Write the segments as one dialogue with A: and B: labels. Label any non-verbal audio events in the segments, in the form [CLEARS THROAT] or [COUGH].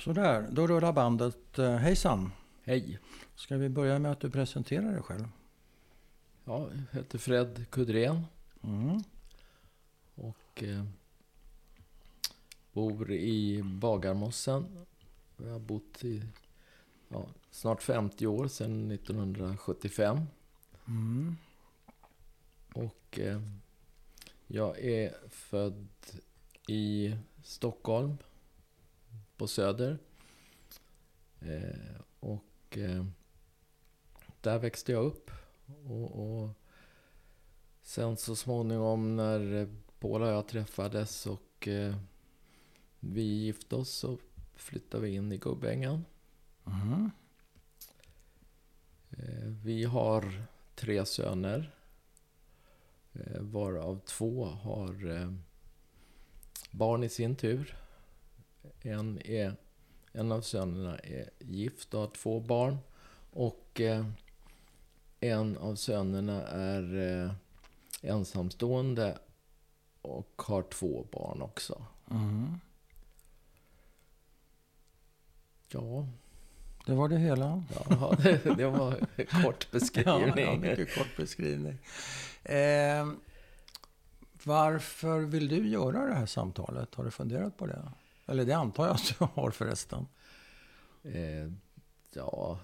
A: Sådär, då rullar bandet. Eh, Hejsan!
B: Hej!
A: Ska vi börja med att du presenterar dig själv?
B: Ja, jag heter Fred Kudren
A: Mm.
B: och eh, bor i Bagarmossen. Jag har bott i ja, snart 50 år, sedan 1975.
A: Mm.
B: Och eh, jag är född i Stockholm, på Söder. Eh, och eh, där växte jag upp. Och, och sen så småningom när eh, Paula och jag träffades och eh, vi gifte oss så flyttade vi in i Gubbängen.
A: Mm.
B: Eh, Vi har tre söner. eh, Varav två har eh, barn i sin tur. En, är, en av sönerna är gift och har två barn. Och eh, en av sönerna är eh, ensamstående och har två barn också.
A: Mm.
B: Ja,
A: Det var det hela.
B: ja [LAUGHS] det, det var en kort
A: Ja, ja,
B: beskrivning.
A: mycket kort beskrivning. Eh, varför vill du göra det här samtalet? Har du funderat på det? Eller det antar jag att du har förresten.
B: Eh, ja,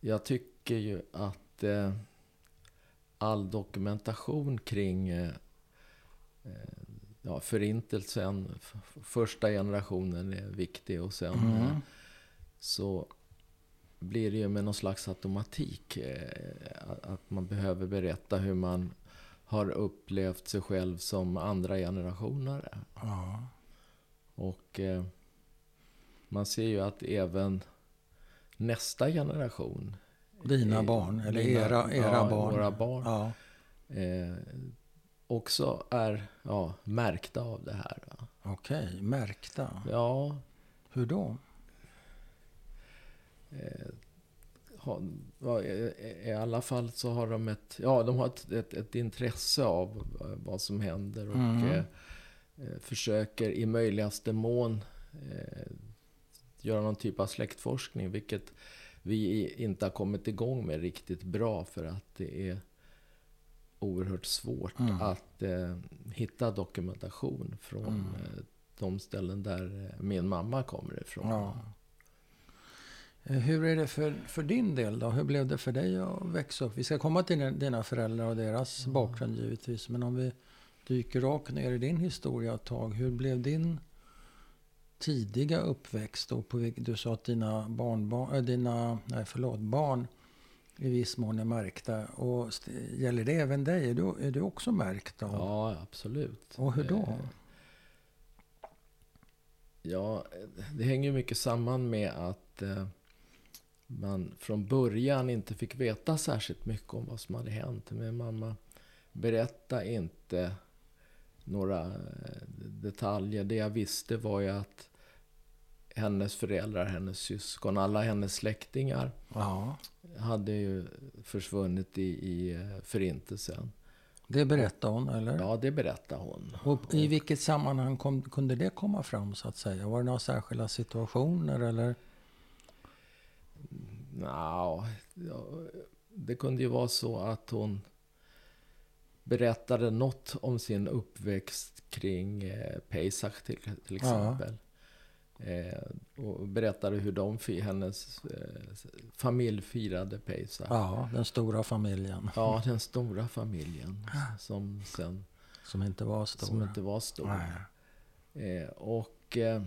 B: jag tycker ju att eh, all dokumentation kring eh, eh, ja, förintelsen, f- f- första generationen är viktig och sen eh,
A: Mm.
B: så blir det ju med någon slags automatik eh, a- att man behöver berätta hur man har upplevt sig själv som andra generationer.
A: Ja.
B: Och eh, man ser ju att även nästa generation.
A: Dina
B: eh,
A: barn, eller
B: mina-
A: era, era
B: ja,
A: barn.
B: Våra barn.
A: Ja.
B: Eh, också är ja, märkta av det här. Va?
A: Okej, märkta.
B: Ja,
A: Hur då?
B: eh, ha, ja, i- i alla fall så har de ett, ja, de har ett, ett, ett intresse av eh, vad som händer och
A: Mm.
B: eh, eh, försöker i möjligaste mån eh, göra någon typ av släktforskning, vilket vi inte har kommit igång med riktigt bra för att det är oerhört svårt
A: Mm.
B: att eh, hitta dokumentation från
A: Mm.
B: eh, de ställen där eh, min mamma kommer ifrån.
A: Ja. Eh, Hur är det för, för din del då? Hur blev det för dig att växa upp? Vi ska komma till din- dina föräldrar och deras bakgrund givetvis. Men om vi dyker rakt ner i din historia ett tag. Hur blev din tidiga uppväxt? Och på, vilk- du sa att dina, barnbarn, äh, dina nej, förlåt, barn i viss mån är märkta. Och st- gäller det även dig? Är du, är du också märkt? Av?
B: Ja, absolut.
A: Och hur då?
B: Eh, Ja, det hänger ju mycket samman med att eh, man från början inte fick veta särskilt mycket om vad som hade hänt. Men mamma berättade inte några eh, detaljer. Det jag visste var ju att hennes föräldrar, hennes syskon, alla hennes släktingar
A: Ja,
B: hade ju försvunnit i, i eh, förintelsen.
A: det berättar hon, eller?
B: Ja, det berättade hon.
A: Och I vilket sammanhang kom, kunde det komma fram så att säga? Var det några särskilda situationer eller?
B: Nja, ja, det kunde ju vara så att hon berättade något om sin uppväxt kring eh, Pesach till, till exempel. Eh, och berättade hur de, fi- hennes eh, s- familj firade Pesach.
A: Ja, den stora familjen
B: Ja, den stora familjen som sen
A: som inte var stor.
B: som inte var stor.
A: Nej.
B: Eh, och eh,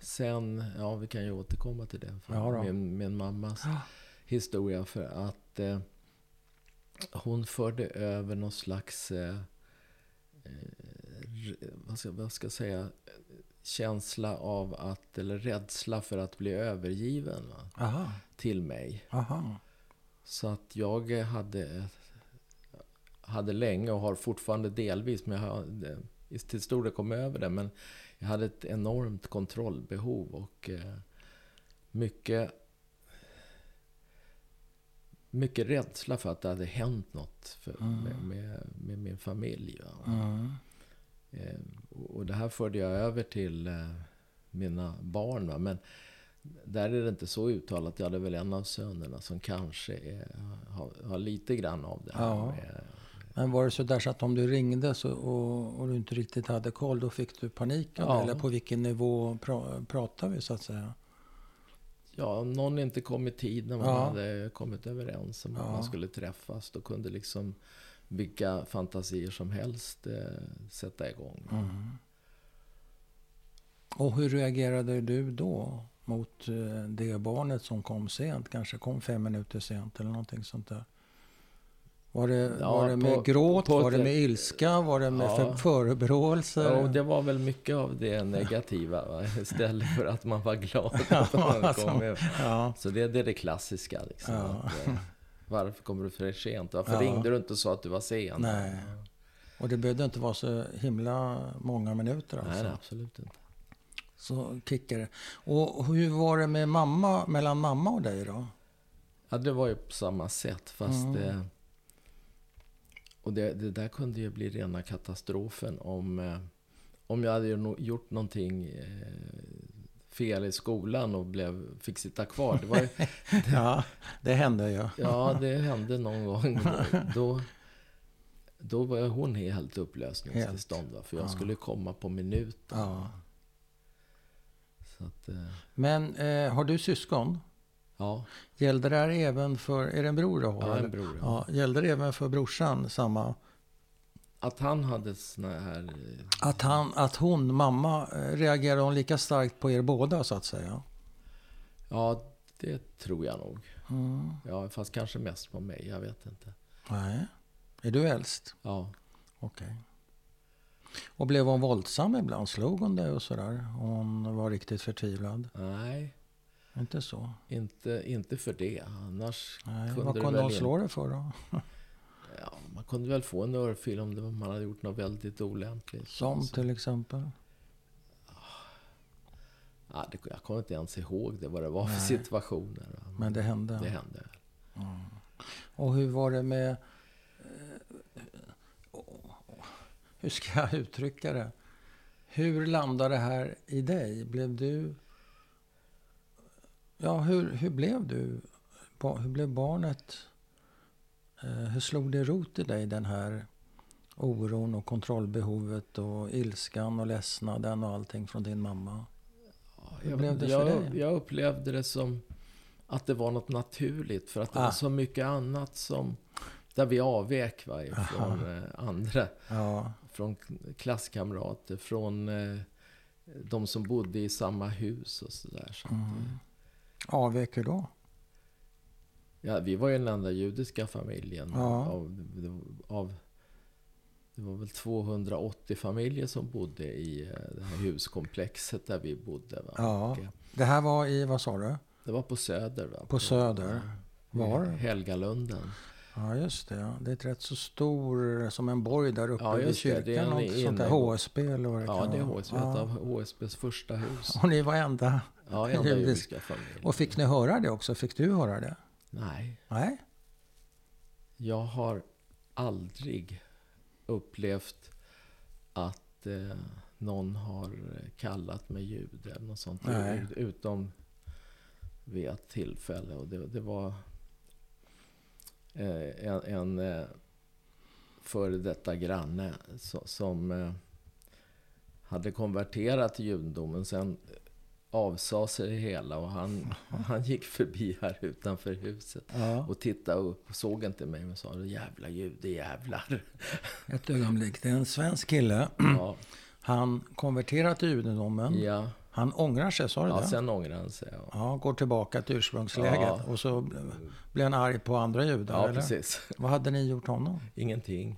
B: sen, ja vi kan ju återkomma till det.
A: Ja då.
B: För min, min mammas
A: Ja.
B: historia. För att eh, hon förde över någon slags, eh, eh, r- vad, ska, vad ska jag säga, eh, känsla av att, eller rädsla för att bli övergiven va,
A: Aha,
B: till mig.
A: aha.
B: Så att jag eh, hade, hade länge och har fortfarande delvis, men jag har eh, i- till stor del kommit över det. Men jag hade ett enormt kontrollbehov och eh, mycket, mycket rädsla för att det hade hänt något för, med, med, med min familj. Va?
A: Mm.
B: Eh, och och det här förde jag över till eh, mina barn. Va? Men där är det inte så uttalat. Jag hade väl en av sönerna som kanske är, har, har lite grann av det. här
A: Ja.
B: med-
A: Men var det så där så att om du ringde så, och, och du inte riktigt hade koll, då fick du panik? av det?
B: Ja.
A: Eller på vilken nivå pra, pratar vi så att säga?
B: Ja, om någon inte kom i tid när man
A: Ja.
B: hade kommit överens om att
A: Ja.
B: man skulle träffas. Då kunde liksom vilka fantasier som helst eh, sätta igång.
A: Mm. Och hur reagerade du då mot eh, det barnet som kom sent? Kanske kom fem minuter sent eller någonting sånt där. Var det,
B: Ja,
A: var det med
B: på-
A: gråt?
B: på
A: var det
B: ett-
A: med ilska? Var det med
B: Ja.
A: för, förebråelser?
B: Ja, och det var väl mycket av det [LAUGHS] negativa va? istället för att man var glad. [LAUGHS]
A: [LAUGHS]
B: Att
A: Ja,
B: man
A: alltså.
B: kom hem.
A: ja.
B: Så det, det är det klassiska. Liksom,
A: Ja.
B: att, eh, varför kommer du för sent? Varför
A: Ja.
B: ringde du inte och sa att du var sen?
A: Nej. Och det behövde inte vara så himla många minuter alltså.
B: Nej, nej, absolut inte.
A: Så kickade det. Och hur var det med mamma, mellan mamma och dig
B: [LAUGHS]
A: då?
B: Ja, det var ju på samma sätt. Fast,
A: Mm.
B: eh, och det, det där kunde ju bli rena katastrofen om, eh, om jag hade ju no- gjort någonting eh, fel i skolan och blev, fick sitta kvar. Det var ju,
A: [LAUGHS] Ja, det hände ju.
B: ja, det hände någon gång. Då, då var jag- hon i helt upplösningstillstånd. Va? För jag
A: Ja.
B: skulle komma på minuten.
A: Ja.
B: Så att, eh,
A: Men eh, har du syskon?
B: ja,
A: Gällde det här även för, är det en bror du har?
B: jag har
A: eller?
B: en bror. Ja.
A: Ja, gällde det även för brorsan samma?
B: Att han hade såna här... eh,
A: Att, han, att hon, mamma, eh, reagerade hon lika starkt på er båda så att säga?
B: Ja, det tror jag nog.
A: Mm.
B: Ja, fast kanske mest på mig. Jag vet inte.
A: Nej. Är du äldst?
B: Ja,
A: Okej. Och blev hon våldsam ibland? Slog hon dig och sådär? Hon var riktigt förtvivlad?
B: nej,
A: Inte så?
B: inte, inte för det. Annars
A: Nej.
B: kunde
A: Vad
B: det
A: kunde
B: väl
A: hon
B: in-
A: slå dig för då?
B: Ja, man kunde väl få en örfil om det, man hade gjort något väldigt olämpligt.
A: Som
B: Alltså,
A: till exempel?
B: ja, det, jag kommer inte ens ihåg det, vad det var för
A: Nej.
B: situationer. va.
A: Men det hände?
B: det hände.
A: Och hur var det med... eh, åh, Hur ska jag uttrycka det? Hur landade det här i dig? Blev du... Ja, hur, hur blev du? Ba- Hur blev barnet... eh, Hur slog det rot i dig, den här oron och kontrollbehovet och ilskan och ledsnaden och allting från din mamma?
B: Ja,
A: Hur blev det för
B: jag,
A: dig?
B: jag upplevde det som att det var något naturligt. För att det
A: Ah.
B: var så mycket annat som... Där vi avvek va, från
A: Aha.
B: andra.
A: Ja,
B: från klasskamrater, från eh, de som bodde i samma hus och sådär. Så att, eh,
A: Mm. avvek hur då?
B: ja, vi var ju den enda judiska familjen.
A: Ja.
B: Av, av, det var väl 280 familjer som bodde i eh, det här huskomplexet där vi bodde. Va?
A: Ja.
B: Och, eh,
A: Det här var i, vad sa du?
B: Det var på Söder. Va?
A: På Söder? Var?
B: Helgalunden.
A: Ja, just det. ja. Det är ett rätt så stor, som en borg där uppe
B: Ja,
A: vid
B: just det.
A: kyrkan.
B: Det är en
A: något sånt där.
B: innergård.
A: HSB eller vad det
B: Ja,
A: kan
B: det är
A: vara.
B: HSB,
A: [LAUGHS]
B: ett av HSBs första hus.
A: Och ni var enda. [LAUGHS]
B: Ja, enda
A: Judisk.
B: judiska familjen.
A: Och fick ni höra det också? Fick du höra det?
B: Nej.
A: Nej?
B: Jag har aldrig upplevt att eh, någon har kallat mig jude eller något sånt.
A: Nej.
B: Ut- Utom vid ett tillfälle. Och det, det var eh, en, en eh, före detta granne so, som eh, hade konverterat till judendomen. Sen avsade sig det hela och han, han gick förbi här utanför huset.
A: Ja.
B: Och tittade upp och såg inte mig men sa jävla jude jävlar.
A: Ett ögonblick. Det är en svensk kille.
B: Ja,
A: Han konverterar till judendomen.
B: Mm. ja.
A: Han ångrar sig, sa du
B: ja
A: det?
B: sen ångrade han sig. Ja,
A: Ja, går tillbaka till ursprungsläget.
B: Ja.
A: Och så bl- blir han arg på andra judar,
B: ja
A: eller?
B: precis. [LAUGHS]
A: Vad hade ni gjort honom?
B: Ingenting.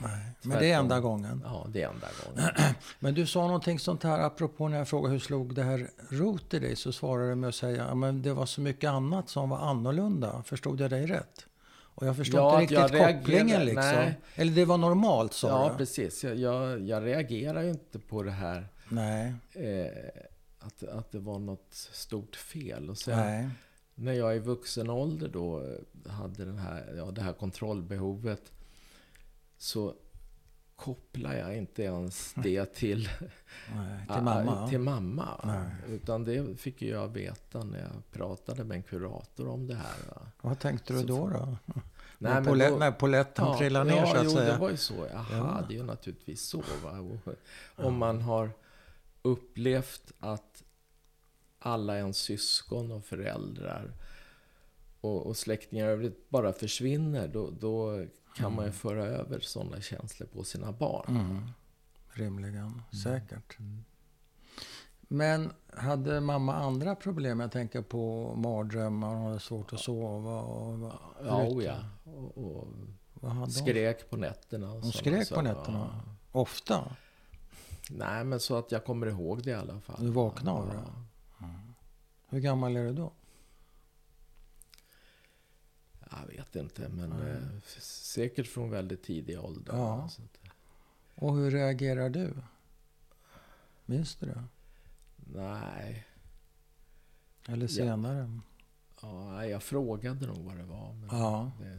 A: Nej. Men det är
B: Tvärtom.
A: enda gången.
B: Ja, det är enda gången. [CLEARS THROAT]
A: Men du sa någonting sånt här, apropå när jag frågade hur slog det här rot i dig, så svarade du med att säga att det var så mycket annat som var annorlunda. Förstod jag dig rätt? Och jag förstod
B: Ja,
A: inte
B: att jag
A: riktigt kopplingen
B: reagerade.
A: liksom.
B: Nej.
A: Eller det var normalt sa
B: Ja,
A: du?
B: precis. Jag, jag, jag reagerar ju inte på det här
A: Nej,
B: eh, att, att det var något stort fel. Och sen
A: nej.
B: när jag i vuxen ålder då eh, hade den här, ja, det här kontrollbehovet så kopplar jag inte [LAUGHS] ens det till,
A: Nej, till mamma.
B: till mamma. va.
A: Ah, Nej.
B: Utan det fick ju jag veta när jag pratade med en kurator om det här. Va?
A: Vad tänkte du
B: Så
A: då?
B: får-
A: då?
B: Nej,
A: när
B: men
A: polett,
B: då-
A: när poletten
B: Ja,
A: trillar ner
B: ja,
A: så att
B: jo,
A: säga.
B: det var ju så. Jaha,
A: Ja.
B: det är ju naturligtvis så. Va? Och, om man har upplevt att alla ens syskon och föräldrar och, och släktingar i övrigt bara försvinner, då, då kan man ju föra över sådana känslor på sina barn.
A: Mm. Rimligen,
B: Mm.
A: säkert. Men hade mamma andra problem? Jag tänker på mardrömmar, hon hade svårt att sova. Och, vad-
B: Ja,
A: förutom-
B: oh ja. Och, och
A: Vad hade hon?
B: skrek på nätterna. och
A: Hon
B: sådana
A: skrek på
B: saker.
A: nätterna? Ofta?
B: Nej, men så att jag kommer ihåg det i alla fall.
A: Du vaknade av
B: Ja.
A: det? Hur gammal är du då?
B: Jag vet inte, men
A: Nej.
B: eh, s- säkert från väldigt tidig ålder.
A: Ja.
B: Så att-
A: Och hur reagerar du? Minns du det?
B: nej,
A: Eller senare?
B: ja, nej, jag frågade nog vad det var. Men
A: Ja.
B: det,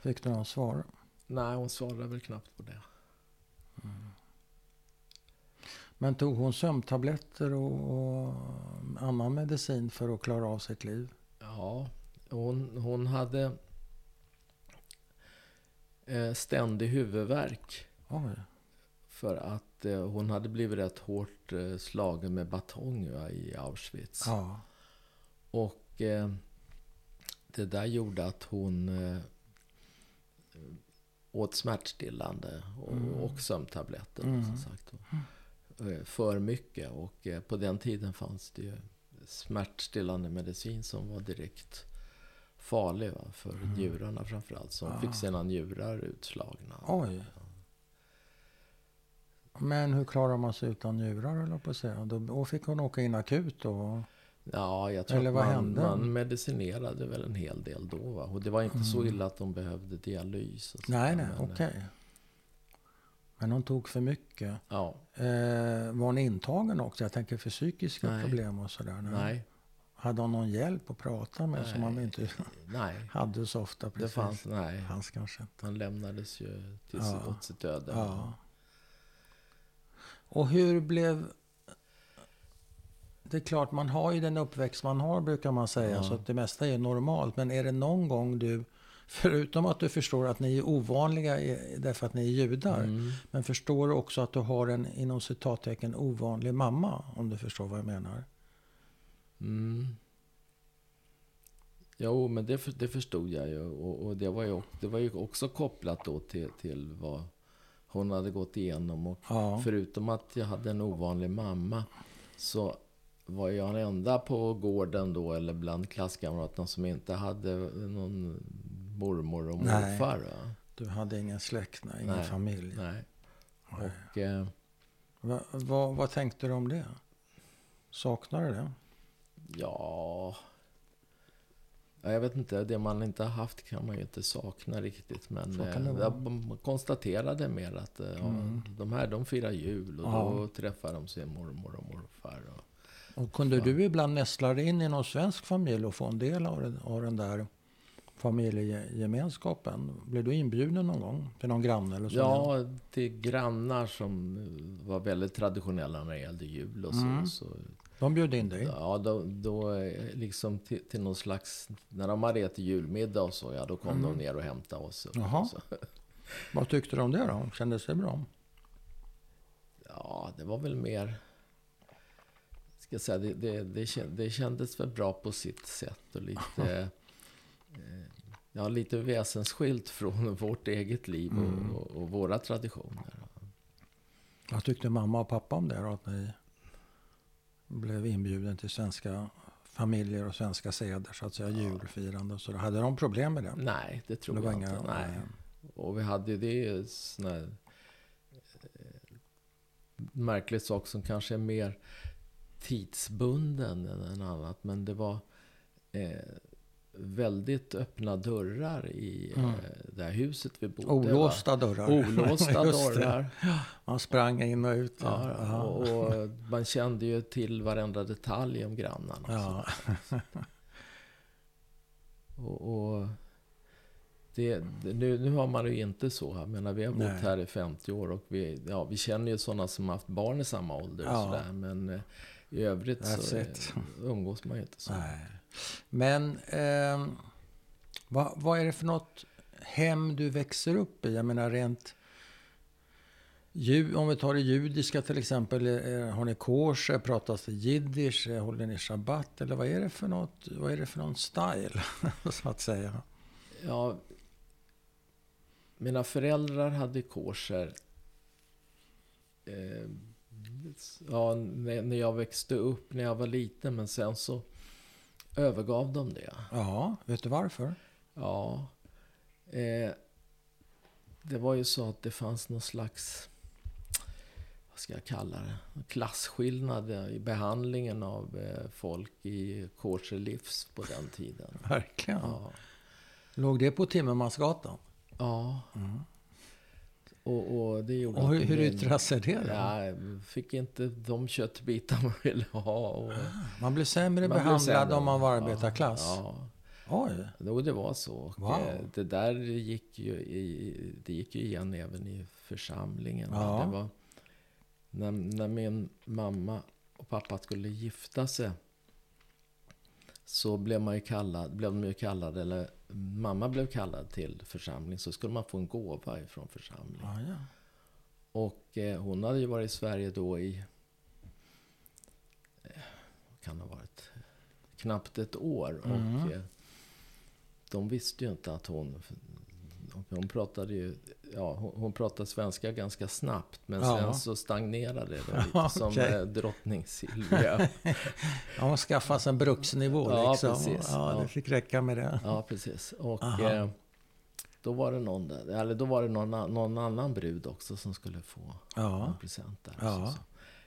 A: Fick du någon svar?
B: nej, hon svarade väl knappt på det.
A: Men tog hon sömntabletter och, och annan medicin för att klara av sitt liv?
B: Ja, hon, hon hade eh, ständig huvudvärk.
A: Oj.
B: För att eh, hon hade blivit rätt hårt eh, slagen med batong va, i Auschwitz.
A: Ja.
B: Och eh, det där gjorde att hon eh, åt smärtstillande och,
A: Mm.
B: och sömntabletter.
A: Mm.
B: Som sagt. Eh, För mycket. Och eh, på den tiden fanns det ju smärtstillande medicin som var direkt farlig va? för njurarna framförallt. Som
A: Mm. Ah.
B: fick sina njurar utslagna.
A: Oj. Men hur klarar man sig utan njurar eller på att säga? Då, då fick hon åka in akut då?
B: Ja, jag tror
A: Eller
B: att
A: vad
B: man,
A: hände?
B: man medicinerade väl en hel del då. Va? Och det var inte så illa att de behövde dialys. och sånt
A: Mm. Nej,
B: där,
A: nej,
B: men, eh,
A: okej. Men hon tog för mycket.
B: Ja,
A: Eh, var hon intagen också? Jag tänker för psykiska
B: Nej.
A: problem och sådär.
B: nej.
A: Hade hon någon hjälp att prata med som man
B: Nej.
A: inte [LAUGHS]
B: Nej,
A: hade så ofta?
B: det
A: Precis.
B: fanns nej.
A: Fanns kanske inte.
B: Han lämnades ju till
A: Ja.
B: sitt, åt sitt öde.
A: Ja. Och hur blev... Det är klart, man har ju den uppväxt man har brukar man säga.
B: Ja.
A: Så att det mesta är ju normalt. Men är det någon gång du, förutom att du förstår att ni är ovanliga i- därför att ni är judar.
B: Mm.
A: Men förstår du också att du har en inom citattecken ovanlig mamma? Om du förstår vad jag menar.
B: Mm. Jo, men det, för- det förstod jag ju. Och, och det, var ju, ock- det var ju också kopplat då till, till vad hon hade gått igenom. Och
A: Ja.
B: Förutom att jag hade en ovanlig mamma så var jag den enda på gården då, eller bland klasskamraterna, som inte hade någon mormor och
A: Nej.
B: morfar. Va?
A: Du hade ingen släkt, nej, ingen
B: Nej.
A: familj.
B: Nej. Och, eh,
A: Va, va, vad tänkte du om det? Saknar du det?
B: Ja... ja, Jag vet inte, det man inte har haft kan man ju inte sakna riktigt. Men
A: Så kan det
B: eh,
A: vara. Mm.
B: jag b- konstaterade mer att eh, ja, de här de firar jul och
A: Ja.
B: då träffar de sin mormor och morfar. Och,
A: Och kunde du ibland nästla dig in i någon svensk familj och få en del av den, av den där familjegemenskapen? Blev du inbjuden någon gång till någon granne eller så?
B: ja, till grannar som eh, var väldigt traditionella när det gällde jul och så.
A: Mm.
B: så
A: De bjöd in dig?
B: ja, då, då eh, liksom till, till någon slags, när de hade ätit julmiddag och så, ja då kom de ner och hämtade oss. och-
A: Mm. Jaha.
B: och så.
A: Vad tyckte du om det då? Kändes det bra?
B: Ja, det var väl mer... Ska jag säga, det, det, det, kän- det kändes väl bra på sitt sätt och lite...
A: [LAUGHS]
B: eh, Ja, lite väsensskilt från vårt eget liv och,
A: Mm.
B: och, och våra traditioner.
A: Vad tyckte mamma och pappa om det då? Att ni blev inbjuden till svenska familjer och svenska seder, så att säga, julfirande och så. Hade de problem med det?
B: Nej, det tror
A: Det var
B: jag inte.
A: inga-
B: Nej.
A: nej.
B: Och vi hade ju det sån här eh, märklig sak som kanske är mer tidsbunden än- än annat. Men det var eh, väldigt öppna dörrar i eh, det här huset vi bodde va?
A: Mm. Olåsta dörrar. [LAUGHS]
B: Olåsta
A: Just det.
B: dörrar.
A: Man sprang in och ut.
B: Ja,
A: Aha.
B: och, och man kände ju till varenda detalj om grannarna. och
A: Ja.
B: Och, och Det, det- nu, nu har man det ju inte så. Jag menar, vi har bott
A: Nej.
B: här i 50 år och vi, ja, vi känner ju sådana som haft barn i samma ålder.
A: Ja.
B: Och sådär, men eh, i övrigt så
A: That's
B: eh,
A: it.
B: umgås man ju inte så.
A: Nej. Men ehm, vad, vad är det för något hem du växer upp i? Jag menar rent... ju- Om vi tar det judiska till exempel, eh, har ni korser, pratas det jiddisch, eh, håller ni shabbat eller vad är det för något, vad är det för någon style [LAUGHS] så att säga?
B: Ja, mina föräldrar hade korser. Eh, ja, när, när jag växte upp, när jag var liten. Men sen så övergav de det.
A: Ja, vet du varför?
B: Ja. Eh, det var ju så att det fanns någon slags, vad ska jag kalla det, Någon klasskillnad i behandlingen av eh, folk i kosherlivs på den tiden.
A: Verkligen.
B: Ja.
A: Låg det på Timmermansgatan?
B: ja.
A: Mm.
B: Och, och det gjorde
A: Och hur,
B: att
A: hur
B: min-
A: yttrar sig det då?
B: Ja, jag fick inte de köttbitar man ville ha. Och
A: Man blir sämre
B: blev
A: behandlad
B: sämre.
A: om man var arbetarklass?
B: Ja,
A: Oj,
B: ja. Jo, det var så. Och,
A: Wow.
B: eh, Det där gick ju, i, det gick ju igen även i församlingen.
A: Ja.
B: Det var, när, när min mamma och pappa skulle gifta sig så blev, man ju kallad, blev de ju kallade, eller mamma blev kallad till församling, så skulle man få en gåva ifrån församlingen.
A: ja, ja.
B: Och eh, hon hade ju varit i Sverige då i... eh, vad kan det ha varit? Knappt ett år.
A: Mm.
B: Och eh, de visste ju inte att hon... Hon pratade ju... Ja, hon, hon pratade svenska ganska snabbt. Men
A: Ja.
B: sen så stagnerade
A: [LAUGHS]
B: det. Lite
A: Ja,
B: som
A: okej.
B: eh, drottning
A: [LAUGHS]
B: Silvia.
A: Ja, man skaffar sig en bruksnivå
B: Ja,
A: liksom.
B: precis.
A: Ja, det
B: Ja.
A: fick räcka med det.
B: ja, precis. Och
A: Aha.
B: eh, då var det någon där, eller då var det någon, an- någon annan brud också som skulle få
A: Ja,
B: en present där.
A: Ja.
B: Så, så.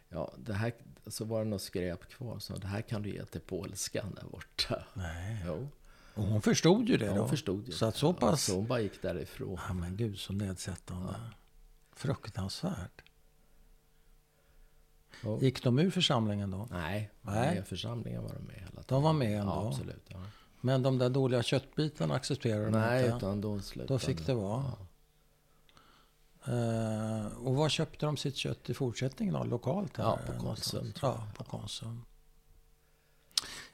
B: ja, det här, så var det något skräp kvar. Så det här kan du ge till polskan där borta.
A: nej.
B: Jo,
A: Och hon förstod ju det
B: ja,
A: då.
B: hon förstod ju.
A: Så att så
B: Ja,
A: pass...
B: så hon bara gick därifrån.
A: Ja, men gud så nedsättande. Fruktansvärt.
B: Jo.
A: Gick de ur församlingen då?
B: Nej,
A: Nej.
B: Nej. församlingen var de med hela tiden.
A: De var med ändå.
B: Ja, absolut. Ja.
A: Men de där dåliga köttbitarna accepterade de
B: Nej,
A: inte?
B: utan då slutade
A: Då fick det vara. Eh, och var köpte de sitt kött i fortsättningen då? Lokalt? Här,
B: Ja, på
A: eh, någonstans?
B: Konsum, tror
A: Ja, på Konsum.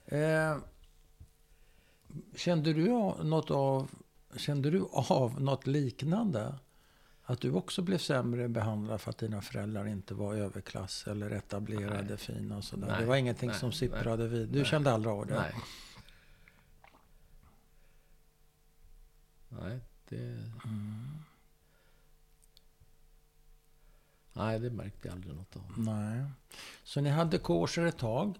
A: Eh, kände, du av något av, kände du av något liknande? Att du också blev sämre behandlad för att dina föräldrar inte var överklass eller etablerade, fina och sådär?
B: Nej,
A: det var ingenting
B: nej,
A: som
B: nej,
A: sipprade vid? Du
B: nej.
A: kände aldrig av det?
B: Nej. Nej, det...
A: Mm.
B: Nej, det märkte jag aldrig något av.
A: Nej. Så ni hade korser ett tag.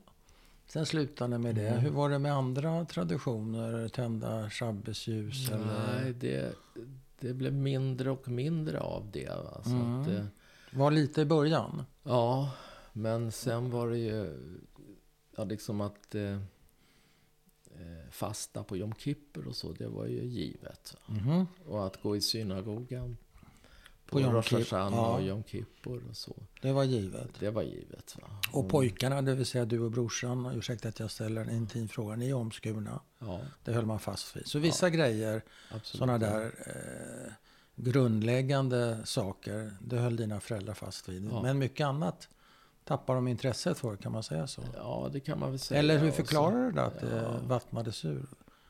A: Sen slutade ni med det.
B: Mm.
A: Hur var det med andra traditioner? Tända shabbesljus eller?
B: Nej, det, det blev mindre och mindre av det. va. Så
A: Mm.
B: att, eh,
A: Var lite i början?
B: ja, men sen var det ju ja, liksom att eh, eh, fasta på Jom Kippur och så, det var ju givet.
A: Mhm.
B: Och att gå i synagogan på,
A: På Yom
B: Rosh
A: Kipp-
B: Hashanah
A: ja.
B: och Jom Kippur och så,
A: Det var givet.
B: det var givet. Va?
A: Och pojkarna, det vill säga du och brorsan, ursäkta att jag ställer en intim fråga, ni är omskurna.
B: Ja,
A: Det höll man fast vid. Så vissa grejer,
B: absolut.
A: sådana där eh, grundläggande saker, det höll dina föräldrar fast vid.
B: Ja.
A: Men mycket annat tappar de intresset för, kan man säga så?
B: Ja, det kan man väl säga.
A: Eller hur
B: Och så-
A: förklarar du det att det
B: Ja.
A: vattnades ur?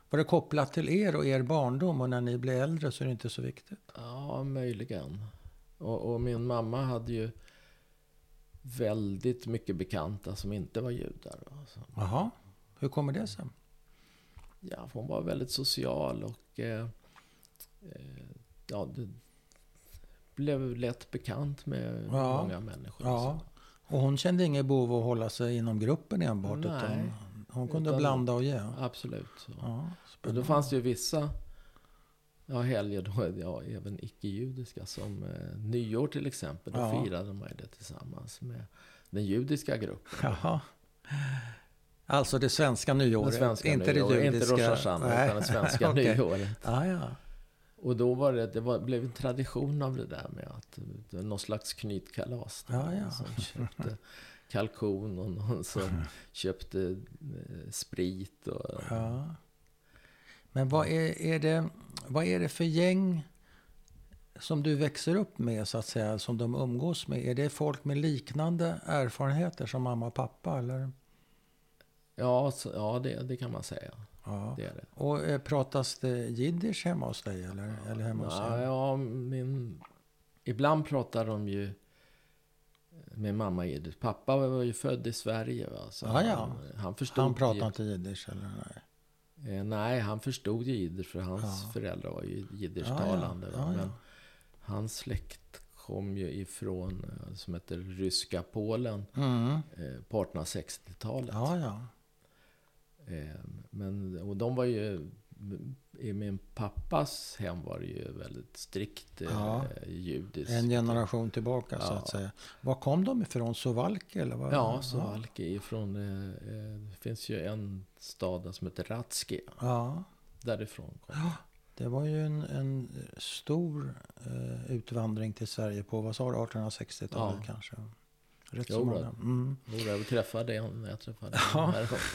A: Var det kopplat till er och er barndom och när ni blev äldre så är det inte så viktigt?
B: Ja, möjligen. Och, och min mamma hade ju väldigt mycket bekanta som inte var judar. va. Så,
A: Jaha, hur kommer det sig?
B: ja, hon var väldigt social och eh, eh, ja, det blev lätt bekant med
A: Ja.
B: många människor. och
A: Ja, och hon kände inget behov av att hålla sig inom gruppen enbart
B: Nej.
A: utan hon kunde
B: Utan-
A: blanda och ge.
B: så. Absolut. Så.
A: Ja,
B: Men då
A: spännande.
B: fanns det ju vissa ja, helger, då, ja, även icke-judiska, som eh, nyår till exempel. Då
A: Ja.
B: firade man ju det tillsammans med den judiska gruppen.
A: Jaha. Alltså det svenska nyåret,
B: Det svenska
A: inte
B: nyåret,
A: det judiska?
B: Inte Rosh Hashanah,
A: Nej.
B: utan det
A: [LAUGHS]
B: svenska
A: Okej.
B: nyåret.
A: Ah, ja.
B: Och då var det, det var, blev en tradition av det där med att det var någon slags knytkalas. Det var
A: Ja,
B: någon
A: ja.
B: som köpte kalkon
A: [LAUGHS]
B: och någon som köpte eh, sprit. Och,
A: Ja. Men vad är, är det, vad är det för gäng som du växer upp med, så att säga, som de umgås med? Är det folk med liknande erfarenheter som mamma och pappa? Eller?
B: Ja, så, ja det, det kan man säga.
A: Ja.
B: Det är det.
A: Och eh, pratas det jiddisch hemma hos dig? Eller, eller hemma hos
B: Ja,
A: er?
B: ja, min... Ibland pratar de ju med mamma Edith. Pappa var ju född i Sverige. Va? Så
A: Ja, ja.
B: Han, han förstod
A: Han
B: ju,
A: pratar inte jiddisch? Eller? Nej.
B: eh, Nej, han förstod ju jiddisch för hans
A: Ja.
B: föräldrar var ju jiddischtalande.
A: Ja,
B: va?
A: ja. Ja, ja.
B: Men hans släkt kom ju ifrån, eh, som heter ryska Polen,
A: Mm.
B: eh, på 1860-talet.
A: Ja, ja.
B: Eh, Men, och de var ju... I min pappas hem var det ju väldigt strikt eh,
A: Ja.
B: judiskt.
A: En generation tillbaka, så
B: Ja.
A: att säga. Var kom de ifrån? Sovalki? Eller vad?
B: Ja, Sovalki är från... eh, eh, Det finns ju en stad där som heter Ratski.
A: Ja,
B: Därifrån kom
A: det var ju en, en stor eh, utvandring till Sverige på, vad sa du, 1860-talet
B: Ja.
A: kanske? Rätt
B: Jo,
A: så många.
B: då.
A: Mm.
B: Nora, jag träffade en när jag träffade
A: Ja,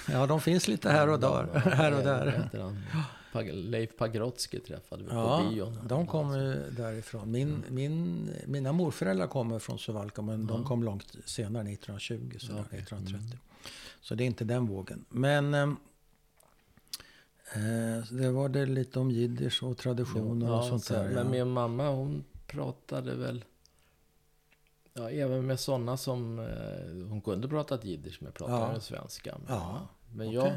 A: Ja, de finns lite här och där. [LAUGHS] Här och där.
B: Heter han. Pag- Leif Pagrotsky träffade vi
A: Ja,
B: på bion. Mm.
A: de kommer ju därifrån. Min, min, mina morföräldrar kommer från Sovalka, men de
B: Ja.
A: kom långt senare, 1920, så
B: Ja, okej. Mm.
A: 1930. Så det är inte den vågen. Men eh, eh, det var det lite om jiddisch och traditioner och sånt
B: så-
A: där.
B: Men
A: ja.
B: min mamma hon pratade väl... Ja, även med sådana som... eh, Hon kunde prata jiddisch men pratade
A: Ja.
B: ju svenska. Men,
A: Ja,
B: men
A: okej.
B: jag,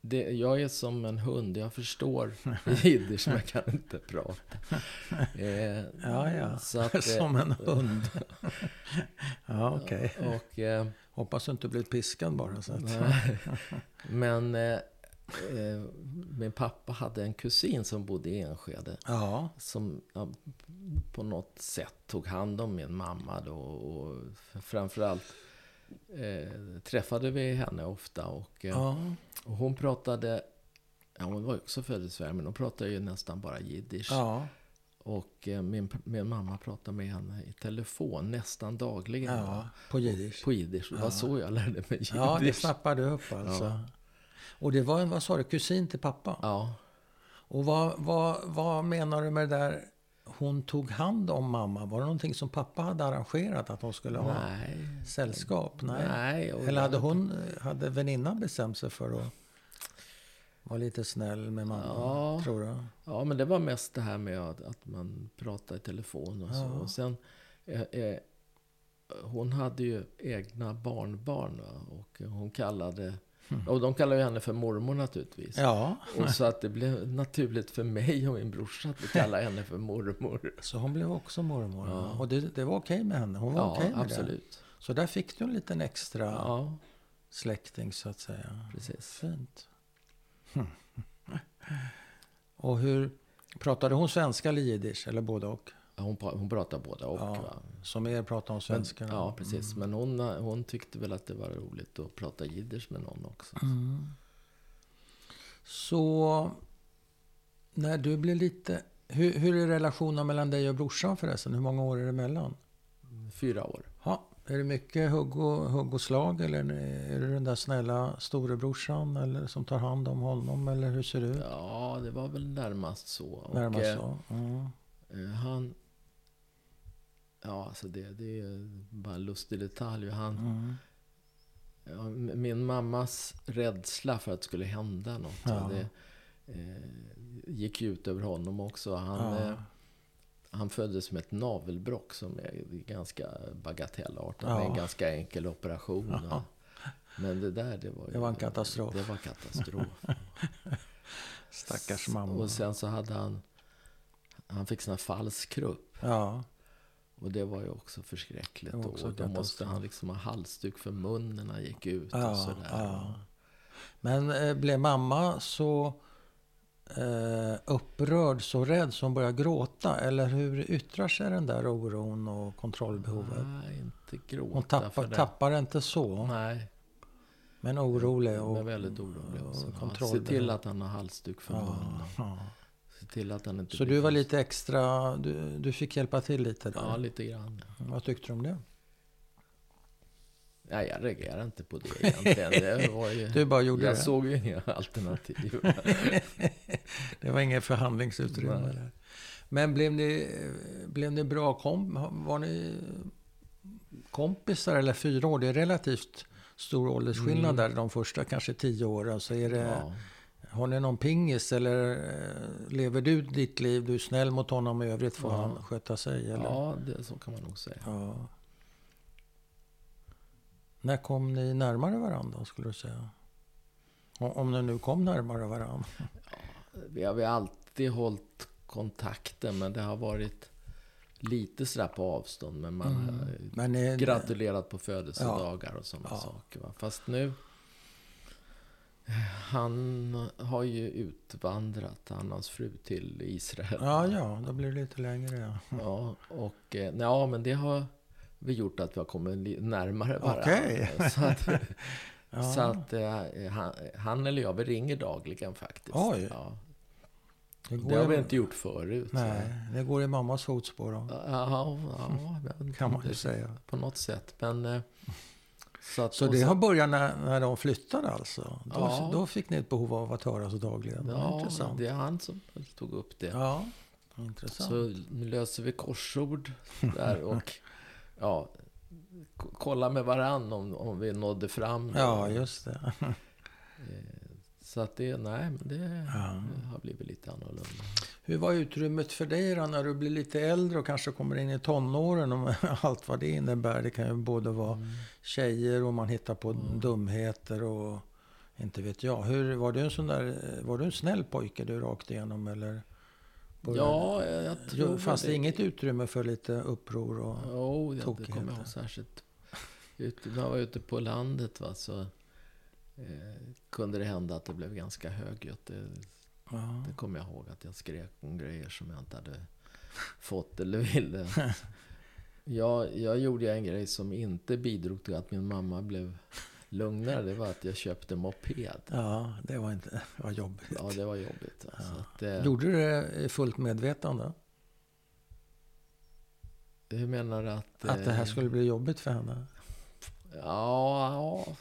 B: det, jag är som en hund, jag
A: [LAUGHS]
B: förstår [LAUGHS] jiddisch men jag kan inte prata. Eh,
A: Ja, ja.
B: Så att,
A: [LAUGHS]
B: eh,
A: Som en
B: [LAUGHS]
A: hund. ja, okej.
B: och, eh,
A: Hoppas du inte blir piskad bara. Så att.
B: nej. men eh, eh, min pappa hade en kusin som bodde i Enskede.
A: Ja,
B: som ja, på något sätt tog hand om min mamma då och framförallt eh, träffade vi henne ofta och, eh,
A: ja,
B: och hon pratade, ja, hon var ju också född i Sverige men hon pratade ju nästan bara jiddisch
A: ja.
B: och eh, min, min mamma pratade med henne i telefon nästan dagligen
A: ja.
B: va,
A: På jiddisch.
B: på jiddisch. Det var
A: Ja.
B: så jag lärde mig jiddisch.
A: Ja, det snappade upp alltså.
B: Ja.
A: Och det var en, vad sa du, kusin till pappa?
B: ja.
A: Och vad, vad, vad menar du med det där hon tog hand om mamma? Var det någonting som pappa hade arrangerat att hon skulle ha
B: Nej.
A: sällskap? Nej.
B: Nej. och-
A: Eller hade hon, hade väninnan bestämt sig för att vara lite snäll med mamma?
B: Ja.
A: Tror du?
B: Ja, men det var mest det här med att, att man pratar i telefon och så.
A: Ja.
B: Och sen, eh, eh, hon hade ju egna barnbarn va? och hon kallade, och de kallade ju henne för mormor naturligtvis.
A: Mm. Ja.
B: Och så att det blev naturligt för mig och min brorsa att kalla henne för mormor.
A: Så hon blev också mormor.
B: Ja.
A: Och det, det var okej med henne? Hon var
B: Ja,
A: okej med
B: absolut.
A: det? Så där fick du en liten extra
B: Ja,
A: släkting så att säga?
B: precis.
A: Fint. och hur pratade hon svenska eller jiddisch eller både och?
B: Ja, Hon, pra- hon pratade båda och.
A: Ja, Mm.
B: va?
A: Som er pratar om
B: Men,
A: svenska? då?
B: ja, precis. Men hon, eh, hon tyckte väl att det var roligt att prata jiddisch med någon också.
A: Mm. Så när du blir lite... Hur, hur är relationen mellan dig och brorsan förresten? Hur många år är det emellan? Mm.
B: Fyra år.
A: Ja, är det mycket hugg och, hugg och slag eller är det den där snälla storebrorsan eller, som tar hand om honom? Eller hur ser det ut?
B: Ja, det var väl närmast så. Och,
A: Mm. Närmast
B: eh,
A: så. Mm.
B: Eh, Han... Ja, alltså det, det är bara en lustig detalj. Han, eh,
A: Mm.
B: ja, m- min mammas rädsla för att det skulle hända något.
A: Ja.
B: och Det, eh, gick ju ut över honom också. Han,
A: Mm. Ja.
B: eh, han föddes med ett navelbrock som är ganska bagatellartat.
A: Ja.
B: med En ganska enkel operation.
A: Ja.
B: Men det där, det var ju...
A: Det var en katastrof.
B: Det var katastrof.
A: Stackars mamma.
B: Och sen så hade han... Han fick sån här fallskrupp.
A: Ja,
B: Och det var ju också förskräckligt.
A: Det var också
B: och då måste
A: katastrof.
B: han liksom ha halsduk för munnen när han gick ut
A: Ja,
B: och sådär.
A: ja. men eh, blev mamma så eh, upprörd, så rädd, så hon började gråta? Eller hur yttrar sig den där oron och kontrollbehovet?
B: Nej, inte gråta
A: Hon
B: Mm. för
A: tappar,
B: det.
A: tappar inte så,
B: Nej,
A: men orolig.
B: hon
A: Och,
B: är väldigt orolig.
A: och
B: också. Ja, Se
A: kontrollbehov.
B: till att han har halsduk för munnen.
A: ja.
B: Se till att han inte
A: Så
B: Mm. blir
A: du var
B: fast-
A: lite extra, du, du fick hjälpa till lite där?
B: Ja, lite grann.
A: Vad tyckte du om det?
B: Nej, jag reagerar inte
A: [LAUGHS]
B: på det egentligen. Det var ju...
A: Du bara gjorde
B: jag
A: det.
B: såg ju inga alternativ.
A: Det var inget förhandlingsutrymme.
B: Nej.
A: Där. Men blev ni, blev ni bra kom, Var ni kompisar? Eller fyra år? Det är relativt stor åldersskillnad där. De första kanske tio åren. Så är [LAUGHS] det,
B: Mm. ja.
A: Har ni någon pingis? Eller eh, lever du ditt liv? Du är snäll mot honom och i övrigt får
B: Ja.
A: han sköta sig? Eller?
B: ja, det, så kan man nog säga.
A: Ja. När kom ni närmare varandra skulle du säga? O- Om ni nu kom närmare varandra?
B: Vi har vi har alltid hållit kontakten, men det har varit lite sådär på avstånd. Men man eh, har ju
A: Men eh, ni,
B: gratulerat på födelsedagar och sådana
A: Mm. Ja.
B: saker. Va? Fast nu... Han har ju utvandrat, han och hans fru, till Israel.
A: Ja, ja, då blir det lite längre. Ja.
B: Ja, och eh, nej, ja, men det har vi gjort att vi har kommit li- närmare varandra.
A: Okej.
B: [LAUGHS] Så att,
A: [LAUGHS] Ja.
B: så att eh, han, han eller jag, vi ringer dagligen faktiskt.
A: Oj.
B: Ja.
A: Det
B: Det har
A: går,
B: vi
A: i,
B: inte gjort förut. så-
A: nej, det går i mammas fotspår då,
B: Ja, ja, men,
A: kan man ju säga.
B: På något sätt. Men, eh, så att,
A: Så
B: och
A: det
B: sen-
A: har börjat när, när de flyttade alltså? Då,
B: Ja.
A: då fick ni ett behov av att höras dagligen? Ja,
B: ja,
A: intressant.
B: det är han som tog upp det.
A: Ja, intressant.
B: Så nu löser vi korsord
A: [LAUGHS]
B: där och ja, k- kolla med varann om, om vi nådde fram.
A: ja, just det.
B: Så att det, nej, men det
A: Ja.
B: har blivit lite annorlunda.
A: Hur var utrymmet för dig då när du blir lite äldre och kanske kommer in i tonåren och [LAUGHS] allt vad det innebär? Det kan ju både vara tjejer och man hittar på dumheter och inte vet jag. Hur, var, du en sån där, var du en snäll pojke du rakt igenom eller?
B: Ja, jag
A: Jo,
B: tror
A: Fanns det
B: det
A: inget utrymme för lite uppror? Och...
B: Jo, det det kommer jag
A: Tokigheter.
B: ihåg särskilt. Ute, när jag var ute på landet va, så eh, kunde det hända att det blev ganska högljutt. Det,
A: Ja.
B: det kommer jag ihåg att jag skrek om grejer som jag inte hade fått
A: [LAUGHS]
B: eller ville. Jag, jag gjorde en grej som inte bidrog till att min mamma blev lugnare. Det var att jag köpte moped.
A: ja, det var inte [LAUGHS] vad jobbigt.
B: Ja, det var jobbigt. va. Så att, eh,
A: Gjorde du det i fullt medvetande?
B: Hur menar du att...
A: Att det här
B: eh,
A: skulle bli jobbigt för henne?
B: Ja, ja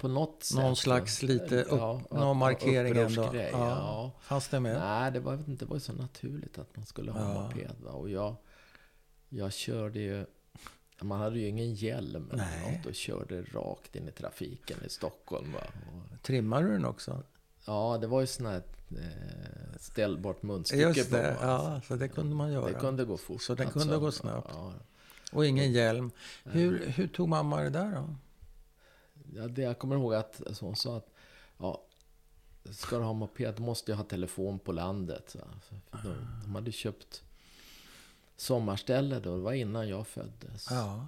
B: på något sätt.
A: Någon slags lite upp, någon markering ändå?
B: Ja. att-
A: Ja.
B: ja.
A: Fanns det med?
B: Nej, det var, det var ju så naturligt att man skulle ha
A: Ja.
B: moped. Va? Och jag, jag körde ju... Man hade ju ingen hjälm eller
A: Nej.
B: något och körde rakt in i trafiken i Stockholm. Va? Och,
A: Trimmar du den också?
B: ja, det var ju sån här eh, ställbart munstycke
A: Just
B: på.
A: det,
B: va?
A: ja, så det kunde man göra.
B: Det kunde gå fort.
A: Så det kunde gå snabbt.
B: Ja,
A: Och ingen hjälm. Hur, hur tog mamma det där då?
B: Ja, det jag kommer ihåg att alltså, hon sa att ja, ska du ha moped då måste jag ha telefon på landet. Så, för de, de hade köpt sommarställe då, det var innan jag föddes.
A: Ja,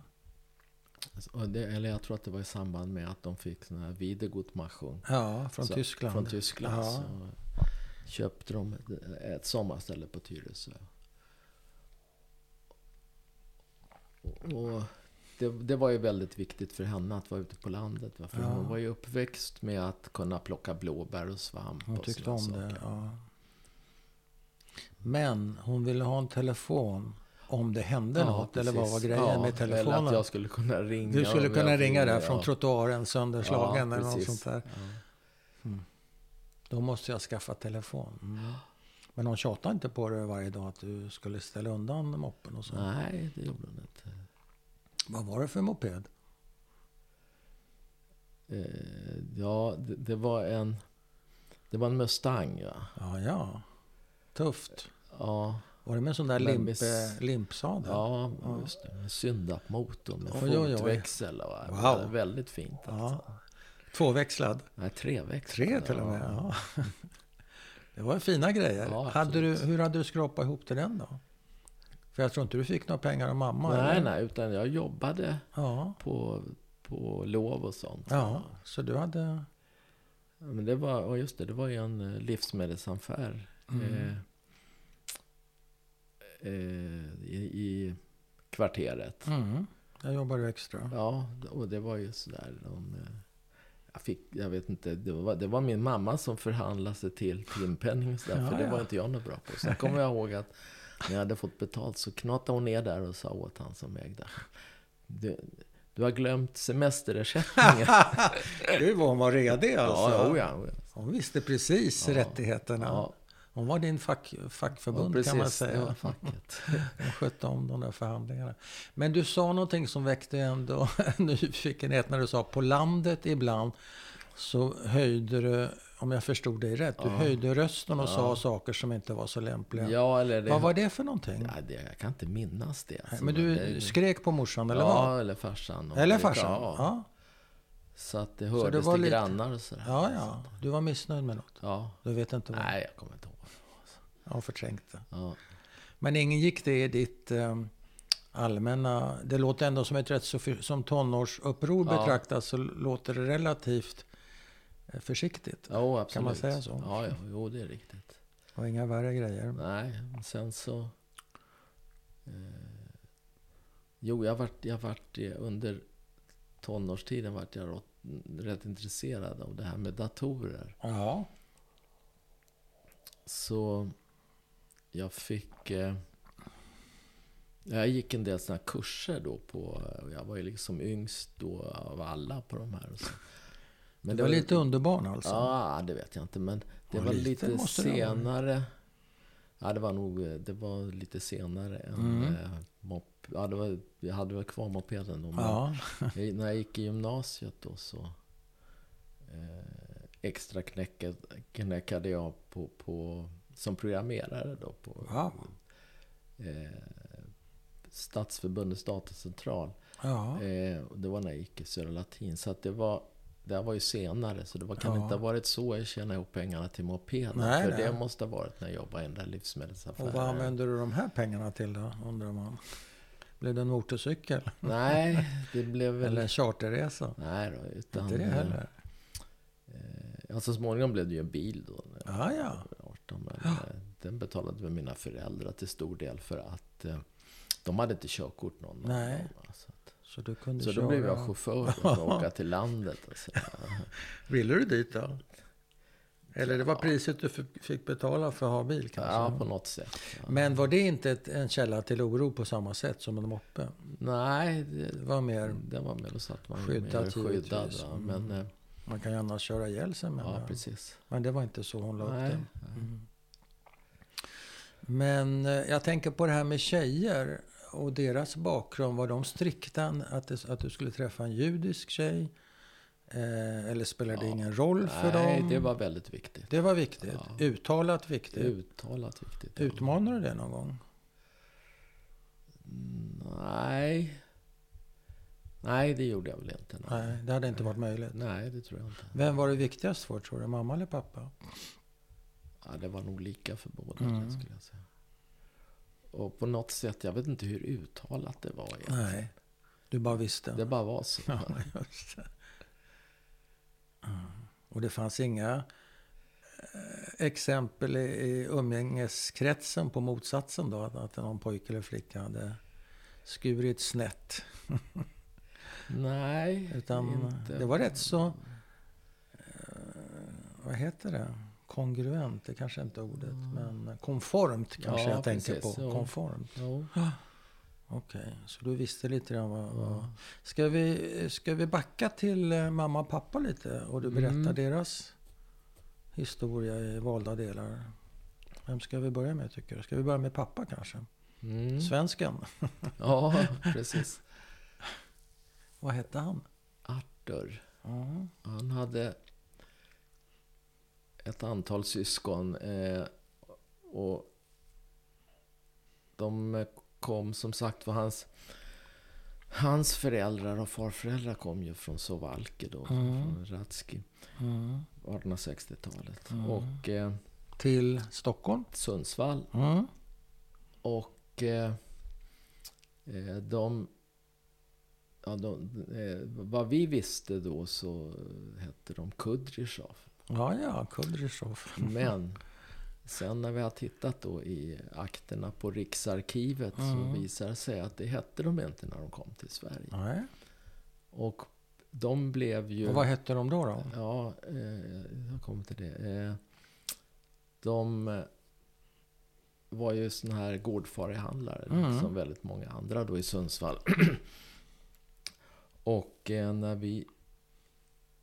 B: Och det, eller jag tror att det var i samband med att de fick sån här Wiedergutmachung.
A: ja från
B: Så-
A: Tyskland.
B: Från Tyskland.
A: Ja.
B: Så köpte de ett, ett sommarställe på Tyresö. Och det, det var ju väldigt viktigt för henne att vara ute på landet. va? För
A: Ja.
B: Hon var ju uppväxt med att kunna plocka blåbär och svamp.
A: Hon
B: och
A: tyckte
B: såna
A: om
B: saker.
A: det. Ja. Men hon ville ha en telefon om det hände något. Eller vad var
B: precis.
A: grejen
B: Ja,
A: med
B: Eller att
A: telefonen?
B: jag skulle kunna ringa.
A: Du skulle
B: om
A: kunna
B: jag
A: ringa där
B: ville,
A: från
B: ja.
A: trottoaren sönderslagen
B: Ja,
A: eller något
B: precis.
A: sånt där. Mm. Då måste jag skaffa telefon. Mm. Men hon tjatade inte på dig varje dag att du skulle ställa undan moppen och så.
B: Nej, det gjorde hon inte.
A: Vad var det för moped?
B: Eh, Ja, det, det var en... Det var en Mustang, va?
A: Ja, ja. Tufft.
B: Ja.
A: Var det med en sån där
B: Men
A: limp,
B: miss-
A: eh, limpsadel?
B: Ja, just det. Med syndapmotor med
A: Oj, oj, oj.
B: fotväxel. Va?
A: Wow.
B: Det är väldigt fint. Alltså.
A: Ja. Tvåväxlad?
B: Nej, treväxel.
A: Tre till och med? Ja. [LAUGHS] Det var fina grejer.
B: Ja,
A: hade du,
B: absolut.
A: hur hade du skrapat ihop till den då? För jag tror inte du fick några pengar av mamma?
B: Nej,
A: eller?
B: nej, utan jag jobbade
A: Ja.
B: på, på lov och sånt.
A: ja, så du hade...
B: Men det var, och just det, det var ju en eh, livsmedelsaffär.
A: Mm.
B: Eh, eh, i, I kvarteret.
A: Mm. Jag jobbade extra.
B: Ja, och det var ju sådär. De, eh, jag, fick, jag vet inte, det var, det var min mamma som förhandlade sig till timpenning och sådär,
A: Ja,
B: för det
A: ja.
B: var inte jag något bra på. Sen kommer jag ihåg att när jag hade fått betalt så knatade hon ner där och sa åt han som ägde. Du, Du har
A: [LAUGHS]
B: glömt semesterersättningen.
A: Gud vad hon var redig alltså.
B: Ja, oh ja, oh ja.
A: Hon visste precis
B: Ja.
A: rättigheterna.
B: ja.
A: Hon var din fack, fackförbund
B: ja,
A: kan man
B: precis.
A: säga.
B: Ja, facket.
A: Hon skötte om de där förhandlingarna. Men du sa någonting som väckte ändå [LAUGHS] en nyfikenhet när du sa på landet ibland så höjde du, om jag förstod dig rätt, du
B: Ja.
A: höjde rösten och sa
B: Ja.
A: saker som inte var så lämpliga.
B: Ja, eller det...
A: Vad var det för någonting?
B: Ja, det, jag kan inte minnas det. alltså.
A: Men
B: det,
A: du skrek på morsan eller vad?
B: Ja, eller farsan. om
A: Eller
B: det-
A: farsan?
B: Ja,
A: Ja.
B: Så att det
A: det
B: hördes
A: var
B: till
A: lite-
B: grannar och sådär.
A: ja, ja. Du var missnöjd med något.
B: ja.
A: Du vet inte vad.
B: Nej, jag kommer inte ihåg.
A: Jag har förträngt det.
B: Ja.
A: Men ingen gick det i ditt eh, allmänna... Det låter ändå som ett rätt så... Som tonårsuppror
B: Ja.
A: betraktas så låter det relativt eh, försiktigt.
B: Jo, absolut.
A: man säga så?
B: Ja, ja, jo, det är riktigt.
A: Och inga värre grejer.
B: Nej, men sen så... Eh, jo, jag vart, jag vart eh, under tonårstiden vart jag rätt, rätt intresserad av det här med datorer.
A: Ja.
B: Så jag fick... Eh, jag gick en del såna här kurser då på... Jag var ju liksom yngst då av alla på de här. Och så.
A: Men det var lite underbarn alltså?
B: Ja, det vet jag inte. Men det
A: Ja,
B: var
A: lite
B: lite
A: måste det ha varit.
B: senare. Ja, det var nog eh, det var lite senare än
A: Mm.
B: eh, mop, ja, det var, Jag hade väl kvar mopeden då. Men
A: Ja.
B: jag, när jag gick [LAUGHS] i gymnasiet då så eh, extra knäckade, knäckade jag på, på, som programmerare då på
A: Ja.
B: eh, Stadsförbundets datacentral.
A: ja.
B: Eh, och det var när jag gick i Södra Latin. Så att det var, det här var ju senare. Så det var, kan
A: Ja.
B: inte ha varit så jag tjänade ihop pengarna till mopeden.
A: Nej,
B: för
A: nej.
B: det måste ha varit när jag jobbade i den där
A: Och vad
B: livsmedelsaffären.
A: använde du de här pengarna till då, undrar man? Blev det en motorcykel?
B: Nej, det blev väl...
A: Eller en charterresa?
B: Nej då, utan...
A: Inte det heller?
B: eh, Ja, så småningom blev det ju en bil då. När jag
A: Ja, ja.
B: var 18, men eh, den betalade väl mina föräldrar till stor del för att eh, de hade inte körkort någon av
A: Nej.
B: dem, va, Så, att,
A: Så du kunde
B: så
A: köra...
B: då blev jag chaufför
A: [LAUGHS]
B: då, och åka till landet. Och så.
A: Ville du dit då? Eller det var
B: Ja.
A: priset du f- fick betala för att ha bil kanske?
B: Ja, på något sätt. Ja.
A: Men var det inte ett, en källa till oro på samma sätt som en moppe?
B: Nej, Mm, det,
A: Det var mer,
B: Den var med och satt man
A: Skyddad
B: skyddad, skyddad
A: givetvis.
B: va?
A: Mm.
B: Men, eh,
A: man kan ju annars köra ihjäl sig med
B: ja,
A: det.
B: precis.
A: Men det var inte så hon la upp
B: Nej.
A: det. Mm. Men eh, jag tänker på det här med tjejer och deras bakgrund. Var de strikta att, det, att du skulle träffa en judisk tjej? Eh, eller spelade det
B: Ja.
A: ingen roll för
B: Nej,
A: dem?
B: det var väldigt viktigt.
A: det var viktigt.
B: Ja.
A: Uttalat viktigt.
B: Uttalat viktigt.
A: Utmanar du det någon gång?
B: Nej. Nej, det gjorde jag väl inte.
A: Nej, det hade inte varit möjligt.
B: Nej, det tror jag inte.
A: Vem var det viktigast för tror du? Mamma eller pappa?
B: Ja, det var nog lika för båda,
A: Mm.
B: skulle jag säga. Och på något sätt, jag vet inte hur uttalat det var egentligen.
A: Nej, du bara visste.
B: Det bara var så.
A: Ja, just det. Mm. Och det fanns inga eh, exempel i, i umgängeskretsen på motsatsen då? Att, att någon pojke eller flicka hade skurit snett?
B: Nej,
A: Utan
B: inte.
A: det var rätt så... Eh, vad heter det? Kongruent, det kanske inte är ordet. Men konformt kanske
B: Mm. Ja,
A: jag tänker
B: precis,
A: på.
B: jo.
A: Konformt.
B: Jo.
A: Okej, så du visste lite grann vad... vad...
B: Ja.
A: Ska, vi, ska vi backa till eh, mamma och pappa lite och du berättar
B: Mm.
A: deras historia i valda delar? Vem ska vi börja med tycker du? Ska vi börja med pappa kanske?
B: Mm.
A: Svensken?
B: Ja, precis.
A: Vad hette han? Mm.
B: Arthur. Han hade ett antal syskon. Eh, och de kom som sagt var hans... Hans föräldrar och farföräldrar kom ju från Sovalke då,
A: Mm.
B: från Ratzki,
A: Mm.
B: 1860-talet.
A: Mm.
B: Och eh,
A: Till Stockholm?
B: Sundsvall.
A: Mm.
B: Och eh, eh, de, ja, de eh, vad vi visste då så eh, hette de Kudryshov.
A: Ja, ja, Kudryshov.
B: Men sen när vi har tittat då i akterna på Riksarkivet
A: Mm.
B: så visar det sig att det hette de inte när de kom till Sverige.
A: Nej.
B: Och de blev ju...
A: Och vad hette de då? då?
B: Ja, eh, jag kommer till det. Eh, de eh, var ju sån här liksom gårdfarihandlare
A: Mm.
B: som väldigt många andra då i Sundsvall. [CLEARS THROAT] Och eh, när vi,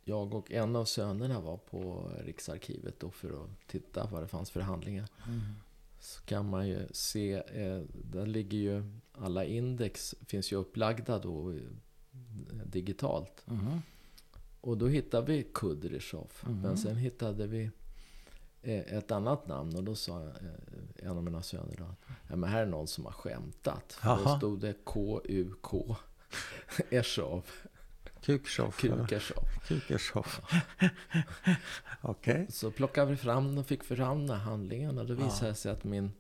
B: jag och en av sönerna var på Riksarkivet då för att titta vad det fanns för handlingar. Så kan man ju se, eh, där ligger ju alla index, finns ju upplagda då eh, digitalt.
A: Mhm.
B: Och då hittade vi Kudryshov.
A: Mhm.
B: Men sen hittade vi eh, ett annat namn och då sa eh, en av mina söner då, ja, men här är någon som har skämtat. För då
A: Jaha.
B: stod det [LAUGHS] K-U-K Eshov,
A: Kukershoff. eller?
B: Kukershov.
A: Kukershoff. Okej.
B: Så plockade vi fram och fick fram de här handlingarna. Då visade det sig att min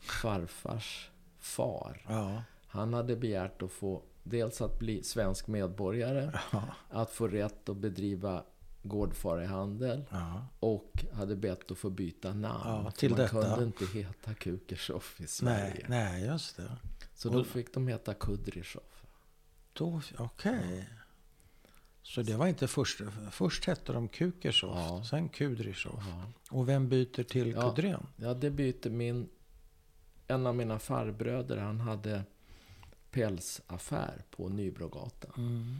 B: farfars far,
A: Ja.
B: han hade begärt att få dels att bli svensk medborgare,
A: Ja.
B: att få rätt att bedriva gårdfarihandel
A: ja.
B: Och hade bett att få byta namn.
A: Ja,
B: för
A: till
B: man
A: detta.
B: kunde inte heta Kukershov i Sverige.
A: Nej, nej, just det.
B: Så då fick de heta Kudryshov.
A: Då, okej. Så det var inte först. Först hette de Kukershoff,
B: Ja.
A: sen Kudryshov.
B: Ja.
A: Och vem byter till
B: Ja.
A: Kudrén?
B: ja, det bytte min... En av mina farbröder, han hade pälsaffär på Nybrogatan.
A: Mm.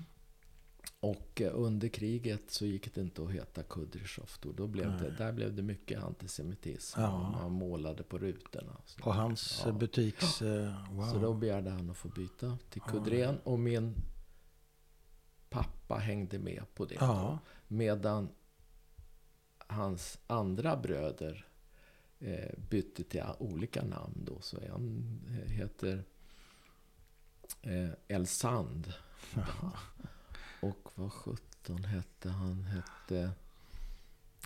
B: Och eh, under kriget så gick det inte att heta Kudryshov. Då, då blev det, där blev det mycket antisemitism.
A: Ja.
B: Man målade på rutorna. och sånt.
A: På hans
B: Ja.
A: eh, butiks... eh, Wow.
B: Så då begärde han att få byta till Kudren och min pappa hängde med på det.
A: ja.
B: Medan hans andra bröder eh, bytte till olika namn då. Så en eh, heter eh,
A: [LAUGHS]
B: El Sand. Och vad sjutton hette han? Hette...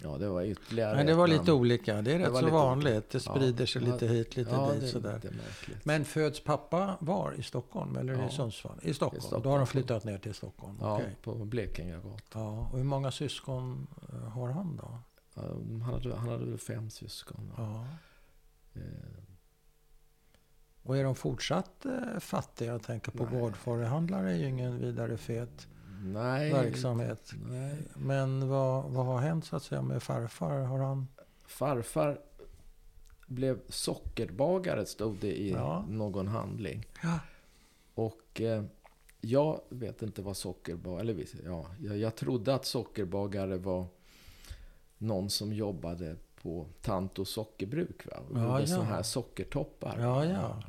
B: Ja, det var ytterligare
A: Nej, det
B: ett
A: var
B: namn.
A: lite olika. Det är
B: Det
A: rätt
B: var
A: så
B: lite
A: vanligt. Det
B: Ja.
A: sprider sig lite hit, lite
B: ja,
A: dit.
B: det är
A: Sådär.
B: lite märkligt.
A: Men föds pappa var i Stockholm eller
B: Ja.
A: i Sundsvall? I Stockholm.
B: Stockholm.
A: Då har de flyttat ner till Stockholm.
B: ja,
A: Okej.
B: på Blekingegatan.
A: Ja. Och hur många syskon eh, har han då?
B: Ja, de- Um, Han hade, han hade väl fem syskon. va?
A: Ja.
B: Eh,
A: Och är de fortsatt eh, fattiga? Jag tänker på
B: Nej.
A: gårdfarihandlare är ju ingen vidare fet
B: nej,
A: verksamhet.
B: nej.
A: Men vad, vad har hänt så att säga med farfar? Har han...
B: Farfar blev sockerbagare, stod det i
A: Ja.
B: någon handling.
A: Ja.
B: Och eh, jag vet inte vad sockerbagare... Eller visst, ja, jag, jag trodde att sockerbagare var någon som jobbade på Tanto sockerbruk. Va? Och
A: Ja,
B: gjorde
A: ja.
B: såna här sockertoppar.
A: Ja, ja.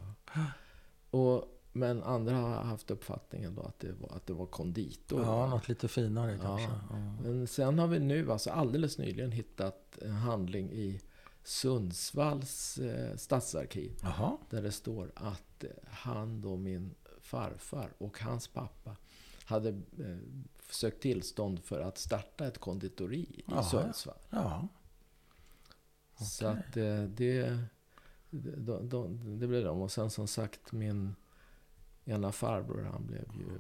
B: Och, men andra har haft uppfattningen då att det var, att det var konditor.
A: ja,
B: va?
A: något lite finare kanske. Ja.
B: Men sen har vi nu, alltså alldeles nyligen, hittat en handling i Sundsvalls eh, stadsarkiv.
A: Jaha.
B: Där det står att eh, han då, min farfar och hans pappa hade eh, sökt tillstånd för att starta ett konditori i
A: Jaha.
B: Sundsvall.
A: Ja.
B: Så att eh, det, de, de, det blev de. Och sen som sagt min ena farbror, han blev ju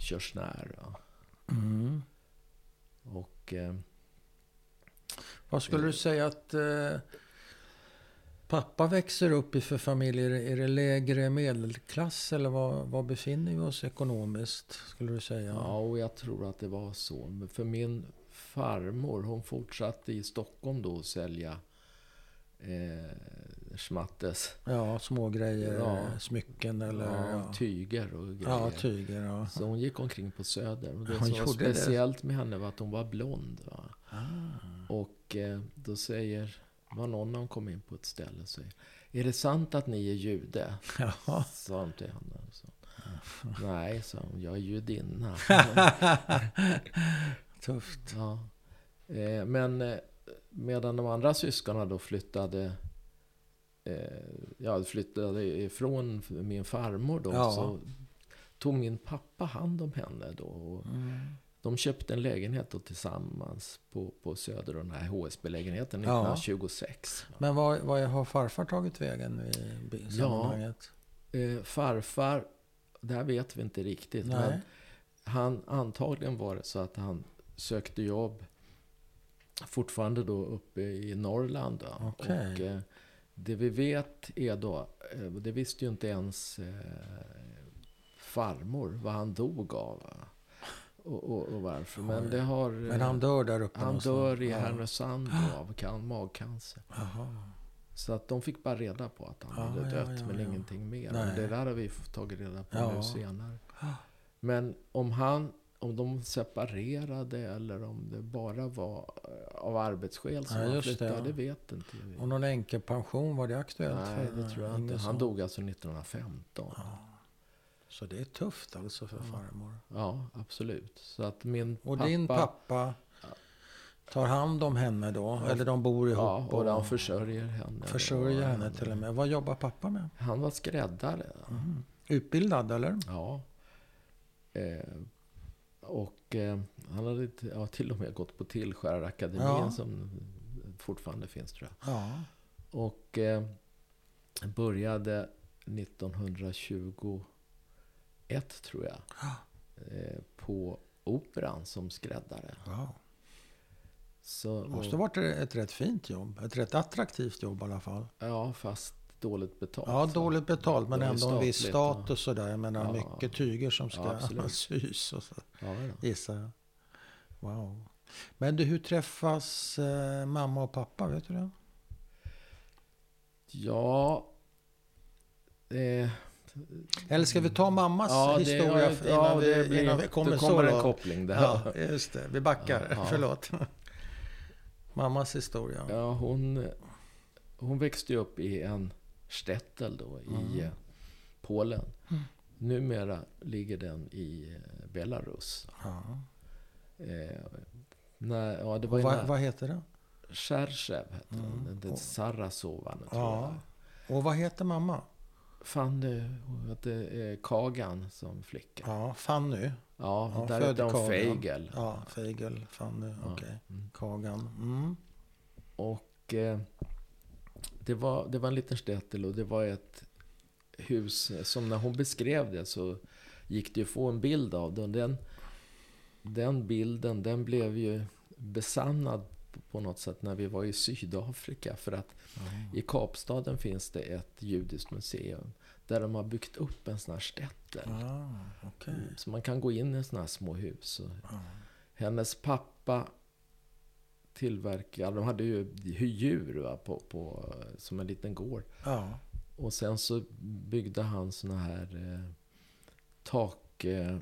B: körsnär. va.
A: Mm.
B: Och... Eh,
A: Vad skulle du säga att eh, pappa växer upp i för familjer? Är det lägre medelklass eller vad, vad befinner vi oss ekonomiskt? Skulle du säga?
B: Ja, och jag tror att det var så. Men För min farmor, hon fortsatte i Stockholm då att sälja eh, schmattes.
A: Ja, små grejer,
B: Ja.
A: smycken eller
B: ja,
A: ja,
B: tyger och grejer.
A: ja, tyger. Ja.
B: [LAUGHS] så hon gick omkring på Söder. Och det
A: Hon
B: som var
A: gjorde det.
B: speciellt med henne var att hon var blond. Va?
A: Ah.
B: Och eh, då säger, var någon när hon kom in på ett ställe och säger, är det sant att ni är jude?
A: [LAUGHS] Ja.
B: Sa de till henne. Så. Nej, sa hon, jag
A: [LAUGHS]
B: är judinna.
A: Tufft.
B: Ja. Eh, men eh, medan de andra syskonen då flyttade eh, ja, flyttade ifrån min farmor då
A: Ja.
B: så tog min pappa hand om henne då. Och
A: Mm.
B: de köpte en lägenhet då tillsammans på, på Söder, den här HSB-lägenheten
A: Ja.
B: 1926.
A: Men vad, vad har farfar tagit vägen i bi- sammanhanget?
B: Eh, farfar, det här vet vi inte riktigt. Men
A: Nej.
B: Han antagligen var det så att han sökte jobb fortfarande då uppe i Norrland. då.
A: Okej.
B: Och eh, det vi vet är då, eh, det visste ju inte ens eh, farmor vad han dog av. va. Och, och, och varför. Men
A: Oj.
B: det har... eh,
A: Men han dör där uppe
B: han
A: någonstans.
B: dör i
A: Ja. [GASPS]
B: Härnösand då av can- magcancer.
A: Jaha.
B: Så att de fick bara reda på att han
A: Ja,
B: hade
A: Ah, ja,
B: dött,
A: ja,
B: men
A: ja.
B: ingenting mer.
A: Nej. Ah.
B: Det där har vi fått tagit reda på
A: Ja.
B: nu senare.
A: Ja.
B: Men om han, om de separerade eller om det bara var eh, av arbetsskäl som
A: Ja,
B: han
A: just det,
B: flyttade, det,
A: ja.
B: vet inte vi.
A: Och någon änkepension, var det aktuellt?
B: Nej,
A: för-
B: det tror jag
A: inget
B: inte. Han
A: sånt.
B: dog alltså 1915.
A: Så det är tufft alltså för farmor.
B: Ja, absolut. Så att min
A: Och
B: pappa...
A: din pappa tar hand om henne då? Eller de bor ihop?
B: Ja, och han försörjer henne.
A: försörjer
B: Och
A: henne
B: han-
A: till och med. Vad jobbar pappa med?
B: Han var skräddare.
A: Utbildad eller?
B: Ja. Eh, och eh, han hade t- ja, till och med gått på Tillskärarakademin
A: Ja.
B: som fortfarande finns tror jag.
A: Ja.
B: Och eh, började 1921 tror jag. Eh, på Operan som skräddare.
A: Wow.
B: Så,
A: Det måste ha varit ett rätt fint jobb. Ett rätt attraktivt jobb i alla fall.
B: Ja, fast dåligt betalt.
A: Ja,
B: va?
A: dåligt betalt men
B: Det är
A: ändå en viss
B: statligt, ja.
A: status och där. Jag menar
B: Ja.
A: mycket tyger som ska
B: Ja,
A: [LAUGHS]
B: absolut.
A: sys och så,
B: Ja, ja.
A: gissar jag. Wow. Men du, hur träffas eh, mamma och pappa? Vet du det?
B: Ja. Eh,
A: Eller ska vi ta mammas
B: ja, det,
A: historia
B: ja,
A: för- innan,
B: ja, det
A: vi,
B: blir,
A: innan vi kommer
B: det
A: så
B: kommer en
A: långt?
B: koppling där.
A: Ja, just det. Vi backar.
B: Ja, ja.
A: Förlåt. Mammas historia.
B: Ja, hon, hon växte ju upp i en shtetl då i eh, Polen.
A: Mm.
B: Numera ligger den i eh, Belarus.
A: Ja.
B: Eh, när, ja, det var
A: Vad
B: ju
A: vad
B: när
A: heter det?
B: Cherchev hette den.
A: Mm.
B: den. Den
A: Och-
B: Sarasovane tror
A: Ja. Och vad heter mamma?
B: jag. Fanny, hon hette Kagan som flicka.
A: Ja, Fanny.
B: Ja,
A: Ja,
B: där
A: född
B: hette hon
A: Kagan.
B: Feigel.
A: Ja, Feigel, Fanny,
B: Ja.
A: okej.
B: Mm.
A: Kagan. Mm.
B: Och eh, det, var, det var en liten shtetl och det var ett hus eh, som när hon beskrev det så gick det ju att få en bild av den. Den, den bilden den blev ju besannad på något sätt när vi var i Sydafrika. För att i Kapstaden finns det ett judiskt museum där de har byggt upp en sån här shtetl.
A: Ah, okej.
B: Så man kan gå in i såna här små hus. Och
A: Ja.
B: Hennes pappa tillverkade, de hade ju djur va, på, på, som en liten gård.
A: Ja.
B: Och sen så byggde han såna här eh, tak... Eh, eh,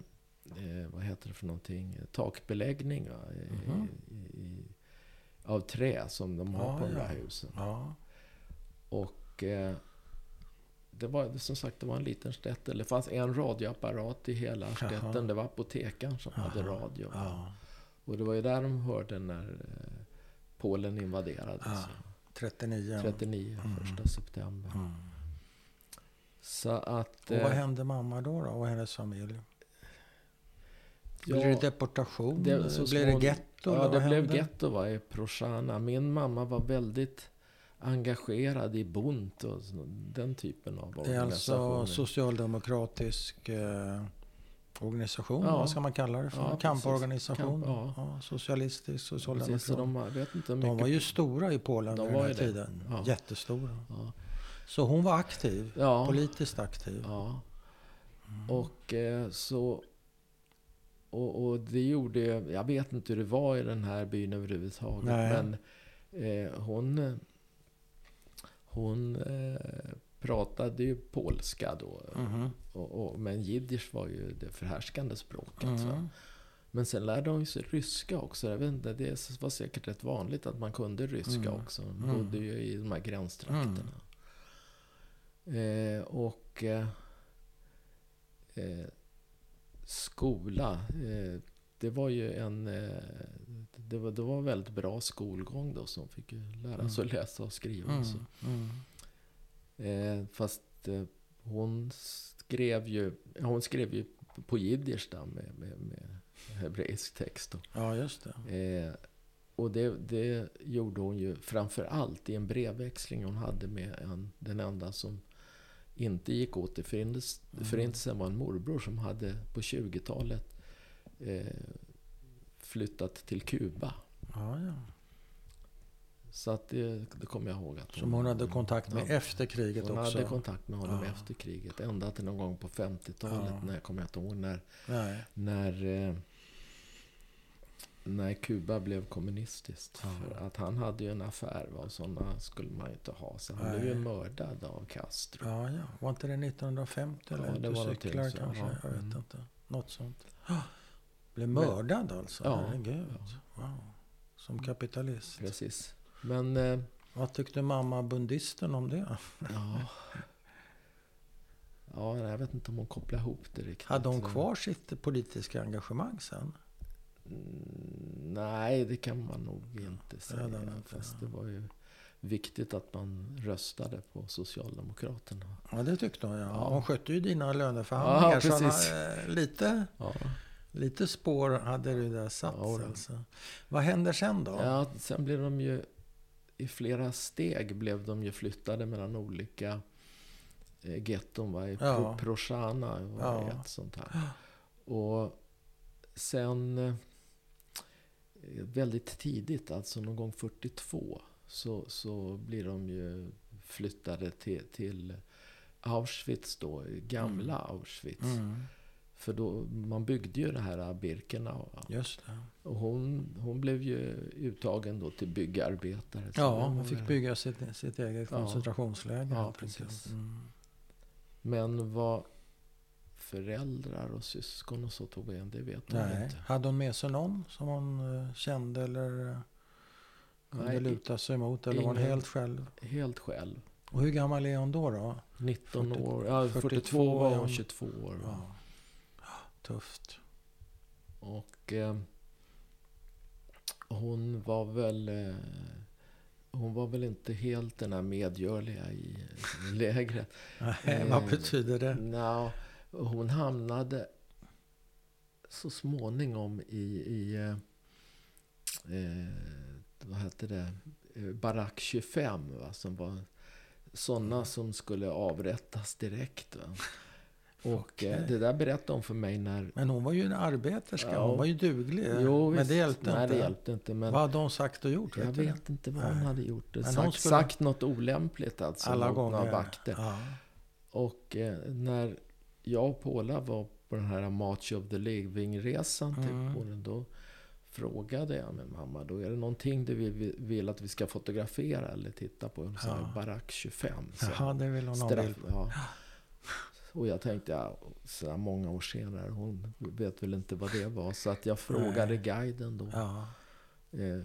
B: vad heter det för någonting? Takbeläggning va, i,
A: Mhm.
B: i, i, av trä som de har
A: Ja,
B: på de
A: ja.
B: där husen.
A: ja.
B: Och eh, det var som sagt det var en liten shtetl. Det fanns en radioapparat i hela shtetlen. Det var apotekaren som hade radio.
A: ja.
B: Och det var ju där de hörde när eh, Polen invaderades.
A: Ja. 39.
B: 39, första september.
A: Mm.
B: Så att...
A: Och vad
B: eh,
A: hände mamma då, då och hennes familj?
B: ja,
A: Blir det deportation?
B: det- så
A: blir
B: småningom-
A: det getto? eller
B: Ja,
A: vad
B: det blev
A: hände?
B: getto va, i Proshana. Min mamma var väldigt engagerad i Bunt och så- den typen av
A: Det är
B: organisationer.
A: alltså socialdemokratisk eh, organisation,
B: Ja.
A: vad ska man kalla det för?
B: Ja, precis.
A: Kamporganisation?
B: Kamp-
A: ja. socialistisk,
B: Precis, så
A: socialdemokrat.
B: de, har- jag vet inte hur
A: De
B: mycket...
A: var ju stora i Polen
B: De
A: vid den
B: var
A: här
B: ju det.
A: tiden.
B: Ja.
A: Jättestora.
B: Ja.
A: Så hon var aktiv,
B: ja,
A: politiskt aktiv.
B: Ja. Och eh, så... Och, och det gjorde... Jag vet inte hur det var i den här byn överhuvudtaget.
A: Nej.
B: Men eh, hon... Hon eh, pratade ju polska då.
A: Mhm.
B: Och, och, men jiddisch var ju det förhärskande språket. Så.
A: Mhm.
B: Men sen lärde hon ju sig ryska också. Jag vet inte, det var säkert rätt vanligt att man kunde ryska
A: Mm.
B: också. Hon bodde ju i de här gränstrakterna.
A: Mm.
B: Eh, och eh, eh, skola. Eh, det var ju en... Eh, det, var, det var en väldigt bra skolgång då. Som fick ju lära sig att läsa och skriva. Och så.
A: Mm. Mm.
B: Eh, fast eh, hon skrev ju, hon skrev ju på jiddisch där med, med, med hebreisk text. Då.
A: Ja, just det.
B: Eh, och det, det gjorde hon ju framför allt i en brevväxling hon hade med en, den enda som inte gick åt till förindes,
A: Mm.
B: förintelsen var en morbror som hade på 20-talet eh, flyttat till Kuba.
A: Ja, ja.
B: Så att det, det kommer jag ihåg att
A: Som hon hade kontakt med
B: Mm. Ja.
A: efter kriget
B: Hon
A: också.
B: hade kontakt med honom
A: Ja.
B: efter kriget. Ända till någon gång på 50-talet.
A: Ja.
B: När jag kommer inte ihåg. När,
A: Nej.
B: när, eh, när Kuba blev kommunistiskt.
A: Ja.
B: För att han hade ju en affär. Va? Och sådana skulle man ju inte ha. Så han
A: Nej.
B: blev ju mördad av Castro.
A: Ja, ja. Var inte det 1950 eller
B: Ja,
A: ja,
B: det
A: det
B: var
A: var
B: någonting
A: cyklar
B: så, Mm.
A: kanske? Jag
B: ja.
A: vet
B: Mm.
A: inte. Något sånt. Blev mördad alltså?
B: Ja, Mm.
A: Herregud. Wow. Som kapitalist.
B: Precis. Men, eh,
A: Vad tyckte mamma bundisten om det?
B: ja. Ja, jag vet inte om hon kopplar ihop det riktigt.
A: Hade hon kvar sitt politiska engagemang sen?
B: Mm, Nej, det kan man nog inte säga.
A: hade han inte,
B: Fast
A: ja.
B: det var ju viktigt att man röstade på Socialdemokraterna.
A: Ja, det tyckte hon ja.
B: Ja.
A: Hon skötte ju dina löneförhandlingar.
B: Ja,
A: så han,
B: precis.
A: eh, lite,
B: Ja.
A: lite spår hade det där satt
B: Ja, då.
A: alltså. Vad händer sen då?
B: Ja, sen blev de ju i flera steg blev de ju flyttade mellan olika eh, getton. Va? I
A: Ja.
B: Pro- Prosana var
A: Ja.
B: ett sånt här. Och sen eh, väldigt tidigt, alltså någon gång 42, så, så blir de ju flyttade till, till Auschwitz då, gamla Auschwitz.
A: Mm.
B: För då, man byggde ju det här Birkenau. Va?
A: Just det.
B: Och hon, hon blev ju uttagen då till byggarbetare. så
A: Ja,
B: det var
A: hon fick
B: väl-
A: bygga sitt, sitt eget
B: Ja.
A: koncentrationsläger.
B: Ja,
A: helt enkelt.
B: precis.
A: Mm.
B: Men vad föräldrar och syskon och så tog igen, det vet man
A: Nej.
B: inte.
A: Hade hon med sig någon som hon eh, kände eller eh, kunde
B: Nej,
A: luta sig mot? Eller var hon
B: ingen.
A: helt själv?
B: Helt själv.
A: Och hur gammal är hon då? då?
B: 19
A: 40
B: år, ja, 42,
A: 42
B: var
A: ja.
B: hon, 22 år. va.
A: Ja. Tufft.
B: Och eh, hon var väl... Eh, hon var väl inte helt den här medgörliga i [LAUGHS] lägret.
A: Nej, [LAUGHS] vad
B: Eh,
A: betyder det?
B: Nja, hon hamnade så småningom i, i eh, eh, vad hette det, Eh, barack 25 va, som var
A: Mm.
B: sådana som skulle avrättas direkt. Va. Och eh,
A: Okej.
B: det där berättade hon för mig när...
A: Men hon var ju en arbeterska.
B: Ja.
A: Hon var ju duglig. men
B: visst,
A: det hjälpte
B: nej,
A: inte.
B: det hjälpte inte. Men
A: Vad hade hon sagt och gjort?
B: jag
A: vet du?
B: vet inte vad hon
A: Nej.
B: hade gjort.
A: Men hon
B: Sagt,
A: skulle-
B: sagt något olämpligt alltså.
A: Alla
B: mot några
A: gånger.
B: vakter.
A: Ja.
B: Och eh, när jag och Paula var på den här March of the Living-resan till
A: Mm.
B: Polen, då frågade jag med mamma, då är det någonting du vill, vill att vi ska fotografera eller titta på? Hon sa
A: Ja.
B: Barack 25. Så
A: Jaha, det vill hon ha bild på.
B: ja. Och jag tänkte, ja, så här många år senare, hon vet väl inte vad det var. Så att jag frågade guiden då.
A: Ja.
B: Eh,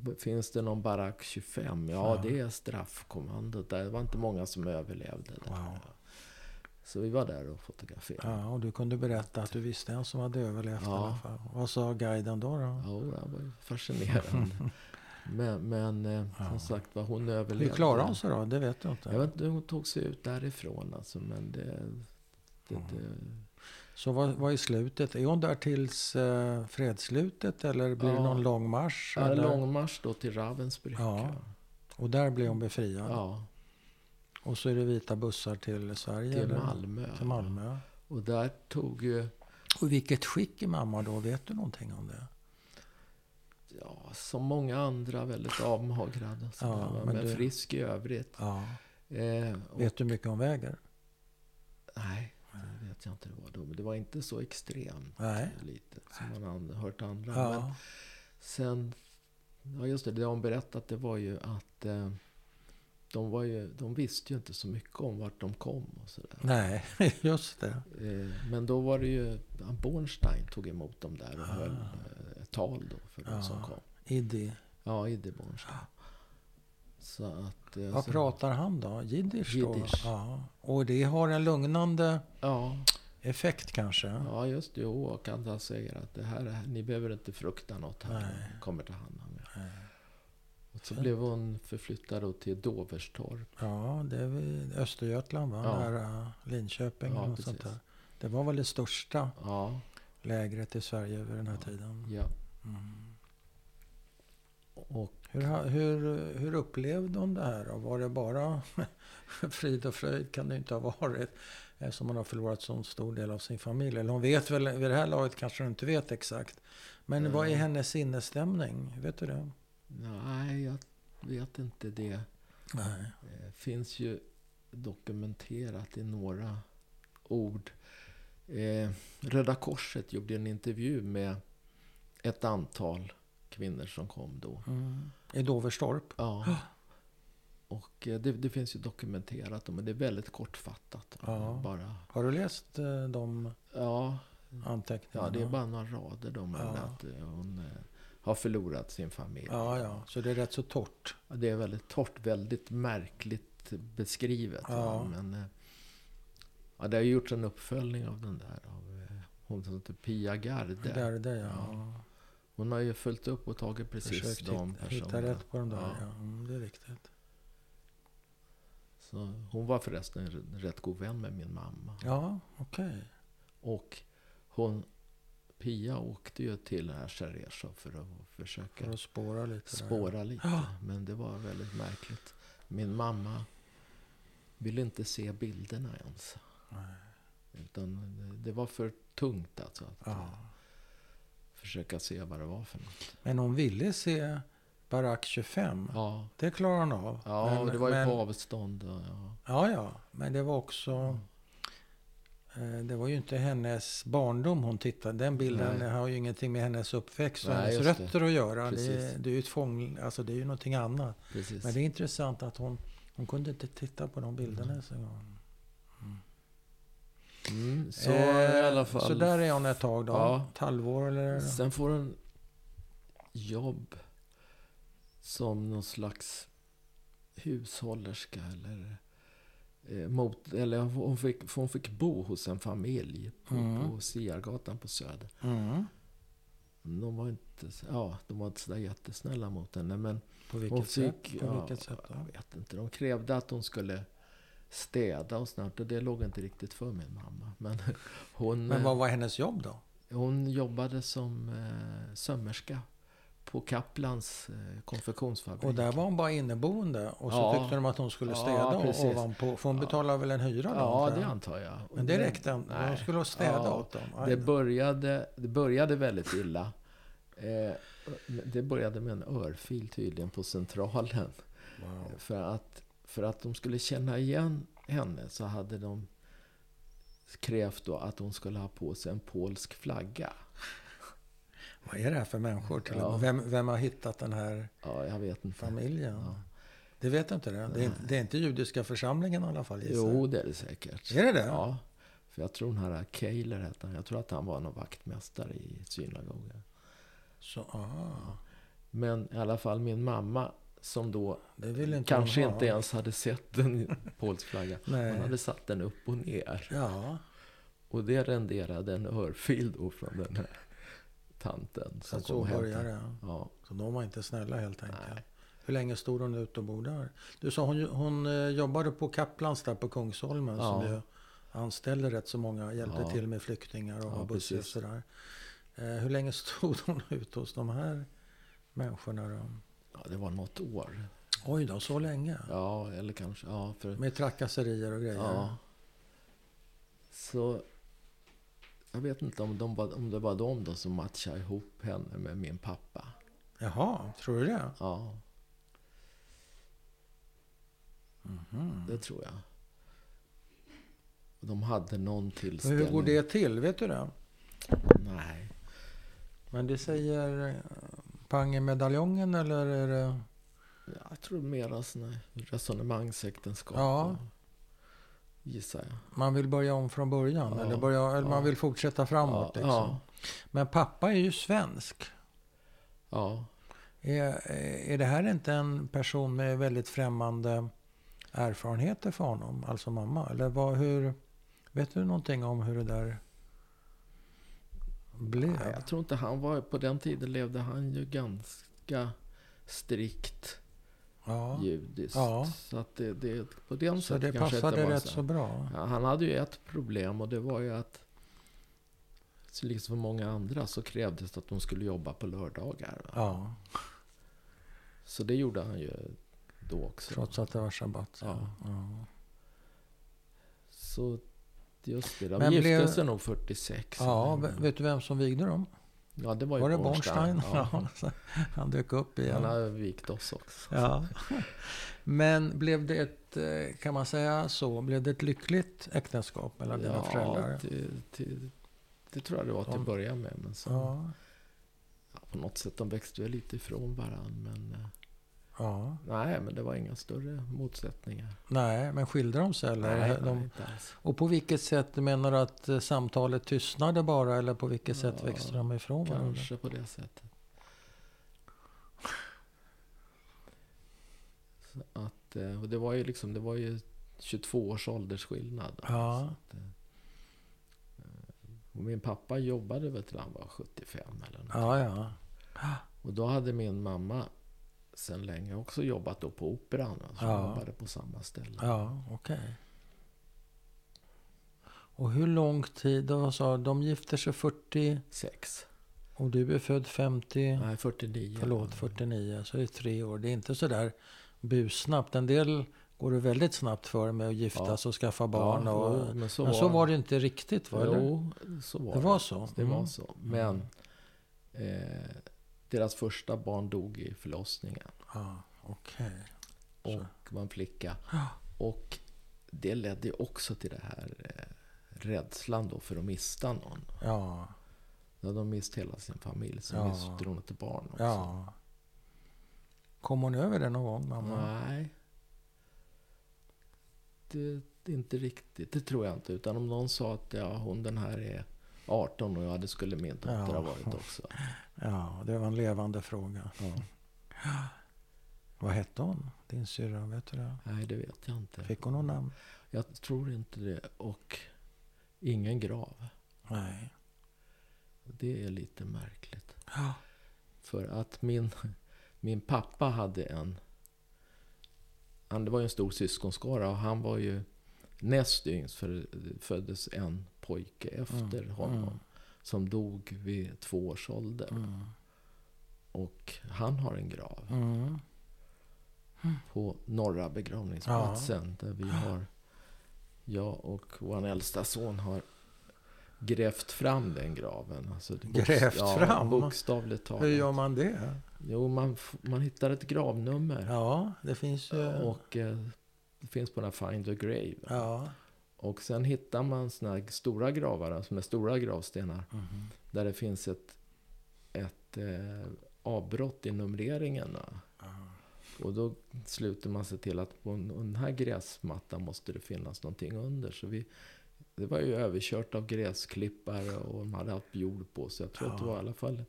B: v- finns det någon barack 25? Ja,
A: Ja.
B: det är straffkommandot. där. Det var inte många som överlevde. Där.
A: Wow.
B: Så vi var där och fotograferade.
A: ja, och du kunde berätta att du visste en som hade överlevt
B: Ja.
A: i alla fall. Vad sa guiden då? då?
B: Ja, det var ju
A: [LAUGHS]
B: fascinerande. men men eh, som sagt var, hon överlevde.
A: Hur klarade hon sig då? Det vet du inte.
B: Jag vet inte hur hon tog sig ut därifrån alltså, men det... det, det
A: Så vad, vad är slutet? Är hon där tills eh, fredsslutet eller blir det
B: Ja.
A: någon lång marsch?
B: är
A: eller?
B: långmarsch då till Ravensbrück.
A: Ja. Och där blir hon befriad?
B: ja
A: Och så är det vita bussar till Sverige?
B: till
A: eller?
B: Malmö.
A: Till Malmö.
B: Och där tog ju...
A: Och i vilket skick är mamma då? Vet du någonting om det?
B: Ja, som många andra väldigt avmagrad. och sådär,
A: Ja,
B: va,
A: men
B: men
A: du-
B: frisk i övrigt.
A: Ja.
B: Eh, och,
A: Vet du mycket om väger?
B: Nej, det vet jag inte vad det var. Men det var inte så extremt
A: Nej.
B: lite som man an- hört andra. Men
A: Ja.
B: sen, ja just det, det har hon berättat det var ju att eh, de, var ju, de visste ju inte så mycket om vart de kom och sådär.
A: Nej, [LAUGHS] just det.
B: Eh, men då var det ju, ja, Bornstein tog emot dem där och höll
A: Ah.
B: eh, ett tal då för de
A: Ja.
B: som kom.
A: Iddi.
B: Ja, Idde Bornstein. Så att... eh,
A: Ah. Vad
B: så-
A: pratar han då? Jiddisch då?
B: Jiddisch.
A: Ja. Och det har en lugnande
B: Ja,
A: effekt kanske?
B: Ja, just det. Jo, och att han säger att det här, är- ni behöver inte frukta något. Han
A: Nej.
B: kommer ta hand om er.
A: Nej.
B: Och så blev hon förflyttad då till Doverstorp.
A: Ja, det är vid Östergötland va?
B: Ja.
A: Nära Linköping
B: Ja,
A: och något
B: precis.
A: sånt där. Det var väl det största
B: Ja,
A: lägret i Sverige vid den här tiden.
B: ja.
A: Mm.
B: Och
A: Hur, ha- hur, hur upplevde hon det här då? Var det bara [LAUGHS] frid och fröjd? Kan det ju inte ha varit. Eftersom hon har förlorat så stor del av sin familj. Eller hon vet väl, vid det här laget kanske hon inte vet exakt. Men
B: Mm.
A: vad är hennes sinnesstämning? Vet du det?
B: nej, jag vet inte det.
A: Nej.
B: Eh, finns ju dokumenterat i några ord. Eh, Röda Korset gjorde en intervju med ett antal kvinnor som kom då.
A: Mm. I Doverstorp? [GASPS]
B: Ja. Och eh, det, det finns ju dokumenterat, men det är väldigt kortfattat.
A: Ja.
B: Bara,
A: Har du läst eh, de
B: ja,
A: anteckningarna.
B: Ja, det är bara några rader de har
A: Ja.
B: att eh, hon eh, har förlorat sin familj.
A: Ja, ja, så det är rätt så torrt.
B: Ja, Det är väldigt torrt, väldigt märkligt beskrivet.
A: Ja.
B: va, Men, eh, ja, det har ju gjorts en uppföljning av den där av eh, hon som heter Pia Garde.
A: Där, där ja.
B: Ja. Hon har ju följt upp och tagit precis
A: Försökt
B: de
A: hitta, hitta
B: personerna.
A: rätt på de där.
B: Ja.
A: Ja. mm, det är viktigt.
B: Så hon var förresten en rätt god vän med min mamma.
A: Ja, okej.
B: Och hon, Pia åkte ju till den här Shareshov för att försöka
A: För att spåra lite. där.
B: spåra lite.
A: Ja.
B: Men det var väldigt märkligt. Min mamma ville inte se bilderna ens.
A: Nej.
B: Utan det var för tungt alltså att eh,
A: Ja.
B: försöka se vad det var för något.
A: Men hon ville se Barack 25.
B: Ja,
A: Det klarar hon av.
B: ja
A: men,
B: och det var ju
A: men,
B: på avstånd. Och, ja.
A: Ja, ja. Men det var också... eh, Det var ju inte hennes barndom hon tittade. Den bilden
B: Nej.
A: har ju ingenting med hennes uppväxt och
B: Nej,
A: hennes
B: just det.
A: rötter att göra. Det,
B: Precis.
A: det är ju ett fång, alltså det är ju någonting annat.
B: Precis.
A: Men det är intressant att hon, hon kunde inte titta på de bilderna ens en gång.
B: Mm, så
A: Eh,
B: i alla fall.
A: Så där är hon ett tag då.
B: Ja.
A: Ett halvår eller?
B: Sen får hon jobb som någon slags hushållerska eller eh, mot, eller hon fick, hon fick bo hos en familj på,
A: Mm.
B: på Siargatan på Söder.
A: Mm.
B: De var inte, så- ja, de var inte sådär jättesnälla mot henne. Men
A: På
B: hon
A: vilket
B: fick,
A: sätt? På
B: ja,
A: vilket sätt då?
B: jag vet inte. De krävde att hon skulle städa och snart. Och det låg inte riktigt för min mamma. Men [LAUGHS] hon...
A: Men
B: eh,
A: vad var hennes jobb då?
B: Hon jobbade som eh, sömmerska på Kaplans eh, konfektionsfabrik.
A: Och där var hon bara inneboende och så
B: Ja.
A: tyckte de att hon skulle
B: Ja,
A: städa
B: precis.
A: ovanpå. För hon betalade väl en hyra då?
B: Ja,
A: antar
B: det
A: jag?
B: antar jag. Och
A: Men det räckte inte.
B: nej.
A: De skulle städa
B: Ja,
A: åt dem. Aj
B: Det
A: då.
B: började, det började väldigt illa. Eh, det började med en örfil tydligen på Centralen. Eh,
A: Wow.
B: För att, för att de skulle känna igen henne så hade de krävt då att hon skulle ha på sig en polsk flagga.
A: Vad är det här för människor? Till
B: Ja.
A: vem, vem har hittat den här
B: Ja, jag vet inte.
A: familjen?
B: Ja.
A: Det vet jag inte. Det. Det, är, inte- det är inte judiska församlingen i alla fall gissar jag.
B: Jo, det är det säkert.
A: Är det det?
B: Ja. För jag tror den här Kejler hette han. Jag tror att han var någon vaktmästare i synagogan.
A: Så, aha.
B: Men i alla fall min mamma som då
A: Det vill inte
B: kanske
A: hon ha.
B: inte ens hade sett en polsk flagga. Hon
A: Nej.
B: hade satt den upp och ner.
A: Ja,
B: Och det renderade en örfil då från den här tanten.
A: så
B: Som
A: att så
B: kom och
A: började
B: hämtade.
A: det.
B: Ja.
A: Så de var inte snälla helt enkelt.
B: Nej.
A: Hur länge stod hon ute och bodde här? Du sa hon, hon eh, jobbade på Kaplans där på Kungsholmen
B: Ja.
A: som ju anställde rätt så många, hjälpte
B: Ja.
A: till med flyktingar och
B: Ja,
A: ja, bussar och
B: precis.
A: sådär. Eh, hur länge [LAUGHS] stod hon ute hos de här människorna då?
B: ja, det var något år.
A: Oj då, så länge?
B: Ja, eller kanske... Ja, för
A: Med trakasserier och grejer?
B: Ja. Så jag vet inte om, de, var- om det var de då som matchade ihop henne med min pappa.
A: Jaha, tror du det?
B: Ja. Det tror jag. Och De hade någon
A: Men
B: tillställning.
A: hur går det till? Vet du det?
B: Nej.
A: Men det säger eh, pang i medaljongen eller är det...
B: Jag tror mera sådana resonemangsäktenskap.
A: Ja.
B: och- Gissar jag.
A: Man vill börja om från början?
B: Ja,
A: eller börja, eller
B: ja.
A: man vill fortsätta framåt?
B: ja,
A: liksom.
B: ja,
A: Men pappa är ju svensk.
B: ja.
A: Är, är det här inte en person med väldigt främmande erfarenheter för honom, alltså mamma? Eller vad, hur, vet du någonting om hur det där blev?
B: Nej, jag tror inte han var... På den tiden levde han ju ganska strikt.
A: ja.
B: judiskt.
A: Ja.
B: Så att det, det, på den
A: Så det
B: sättet kanske inte
A: passade
B: var
A: rätt
B: så.
A: så bra.
B: Ja, Han hade ju ett problem och det var ju att så liksom för många andra så krävdes det att de skulle jobba på lördagar. Va?
A: Ja,
B: Så det gjorde han ju då också.
A: trots att det var sabbat.
B: Ja.
A: Ja.
B: Så just det, de
A: Men
B: gifte
A: blev-
B: sig nog 46.
A: ja,
B: Men-
A: ve- vet du vem som vigde dem?
B: ja, det var ju
A: Var det
B: Bornstein.
A: Bornstein?
B: Ja.
A: [LAUGHS] Ja. Han dök upp igen.
B: Han har vikt oss också.
A: Ja. Men blev det ett, eh, kan man säga så, blev det ett lyckligt äktenskap mellan dina föräldrar?
B: det, det, det tror jag det var till att
A: De-
B: börja med. Men så,
A: Ja.
B: ja, på något sätt, de växte väl lite ifrån varandra. Men, eh,
A: Ja.
B: Nej, men det var inga större motsättningar.
A: Nej, men skildrar de sig? Eller?
B: nej,
A: de,
B: nej, inte alls.
A: Och på vilket sätt menar du att eh, samtalet tystnade bara? Eller på vilket sätt
B: Ja,
A: växte de ifrån varandra?
B: Kanske på det sättet. Så att, eh, och det var ju liksom, det var ju 22 års åldersskillnad.
A: Ja.
B: att, eh, och min pappa jobbade väl till han var 75 eller något.
A: Ja, ja.
B: Och då hade min mamma sen länge också jobbat då på Operan. Alltså
A: Ja.
B: jobbade på samma ställe.
A: Ja, okej. Och hur lång tid? Då sa, de gifter sig 40
B: Sex.
A: och du är född 50.
B: Nej, 49.
A: Förlåt, 49. Så det är tre år. Det är inte så där bussnabbt. En del går det väldigt snabbt för med att giftas och skaffa barn. och,
B: men så,
A: men så var det ju inte riktigt. Var det?
B: Jo, så var
A: det
B: det.
A: var så.
B: Det
A: Mm.
B: var så. Men eh, deras första barn dog i förlossningen.
A: Ja, okej.
B: Och
A: Så.
B: var en flicka.
A: Ja.
B: Och det ledde ju också till det här eh, rädslan då för att mista någon.
A: Ja,
B: Då hade de mist hela sin familj. Så
A: Ja.
B: miste de ett barn också.
A: ja. Kom hon över det någon gång, mamma?
B: Nej. Det, det är inte riktigt. Det tror jag inte. Utan om någon sa att ja, hon den här är 18 och ja, det skulle min dotter
A: Ja.
B: ha varit också.
A: Ja, det var en levande fråga. [GASPS] Vad hette hon, din syrra? Vet du det?
B: Nej, det vet jag inte.
A: Fick hon något namn?
B: Jag tror inte det. Och ingen grav.
A: Nej.
B: Det är lite märkligt.
A: Ja.
B: För att min, min pappa hade en... Han, det var ju en stor syskonskara och han var ju näst yngst. För det föddes en pojke efter
A: Mm,
B: honom.
A: mm.
B: Som dog vid två års ålder.
A: Mm.
B: Och han har en grav
A: Mm.
B: på Norra begravningsplatsen. Där vi har... Jag och vår äldsta son har grävt fram den graven. Alltså, bokst-
A: Grävt fram?
B: Bokstavligt talat.
A: Hur gör man det?
B: Jo, man, f- man hittar ett gravnummer.
A: Ja, det finns ju...
B: Och eh, det finns på den här Find a Grave.
A: Ja.
B: Och sen hittar man såna här stora gravar, alltså med stora gravstenar. Där det finns ett, ett eh, avbrott i numreringarna. Och då sluter man sig till att på en- den här gräsmattan måste det finnas någonting under. Så vi, det var ju överkört av gräsklippare och de hade haft jord på sig. Jag tror att det
A: Ja.
B: var i alla fall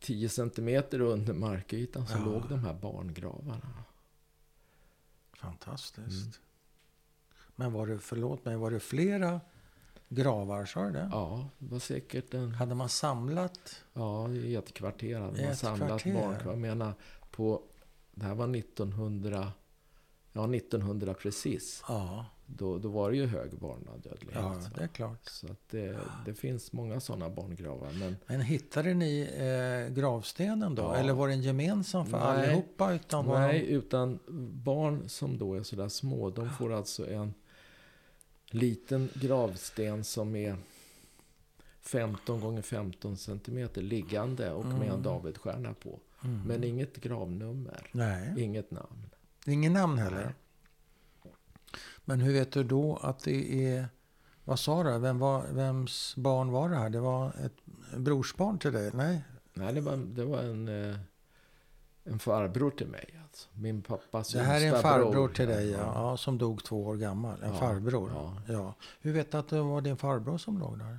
B: 10 centimeter under markytan så
A: Ja.
B: låg de här barngravarna.
A: Fantastiskt.
B: Mm.
A: Men var det, förlåt mig, var det flera gravar? Sa du det?
B: Ja, det var säkert en
A: Hade man samlat?
B: Ja, i ett kvarter hade
A: I
B: man
A: ett
B: samlat
A: kvarter?
B: barn. Jag menar, på, det här var 1900, ja 1900 precis.
A: Ja,
B: Då, då var det ju hög barnadödlighet.
A: ja
B: va?
A: det är klart.
B: Så att det, det finns många sådana barngravar. Men
A: Men hittade ni eh, gravstenen då?
B: Ja.
A: Eller var den gemensam för
B: Nej.
A: allihopa? Utan var
B: nej,
A: de-
B: utan barn som då är sådär små, de får alltså en liten gravsten som är 15 gånger 15 centimeter liggande och med en Davidstjärna på. Men inget gravnummer,
A: Nej.
B: inget namn.
A: Ingen namn heller? Men hur vet du då att det är... Vad sa du? Vem var, vems barn var det här? Det var ett brorsbarn till dig? Nej?
B: Nej, det var, det var en, eh, en farbror till mig. Alltså. Min pappas
A: Det här är en
B: yngsta
A: farbror
B: bror.
A: till dig, ja. ja. Som dog två år gammal. En
B: Ja,
A: farbror. Ja.
B: ja.
A: Hur vet du att det var din farbror som låg där?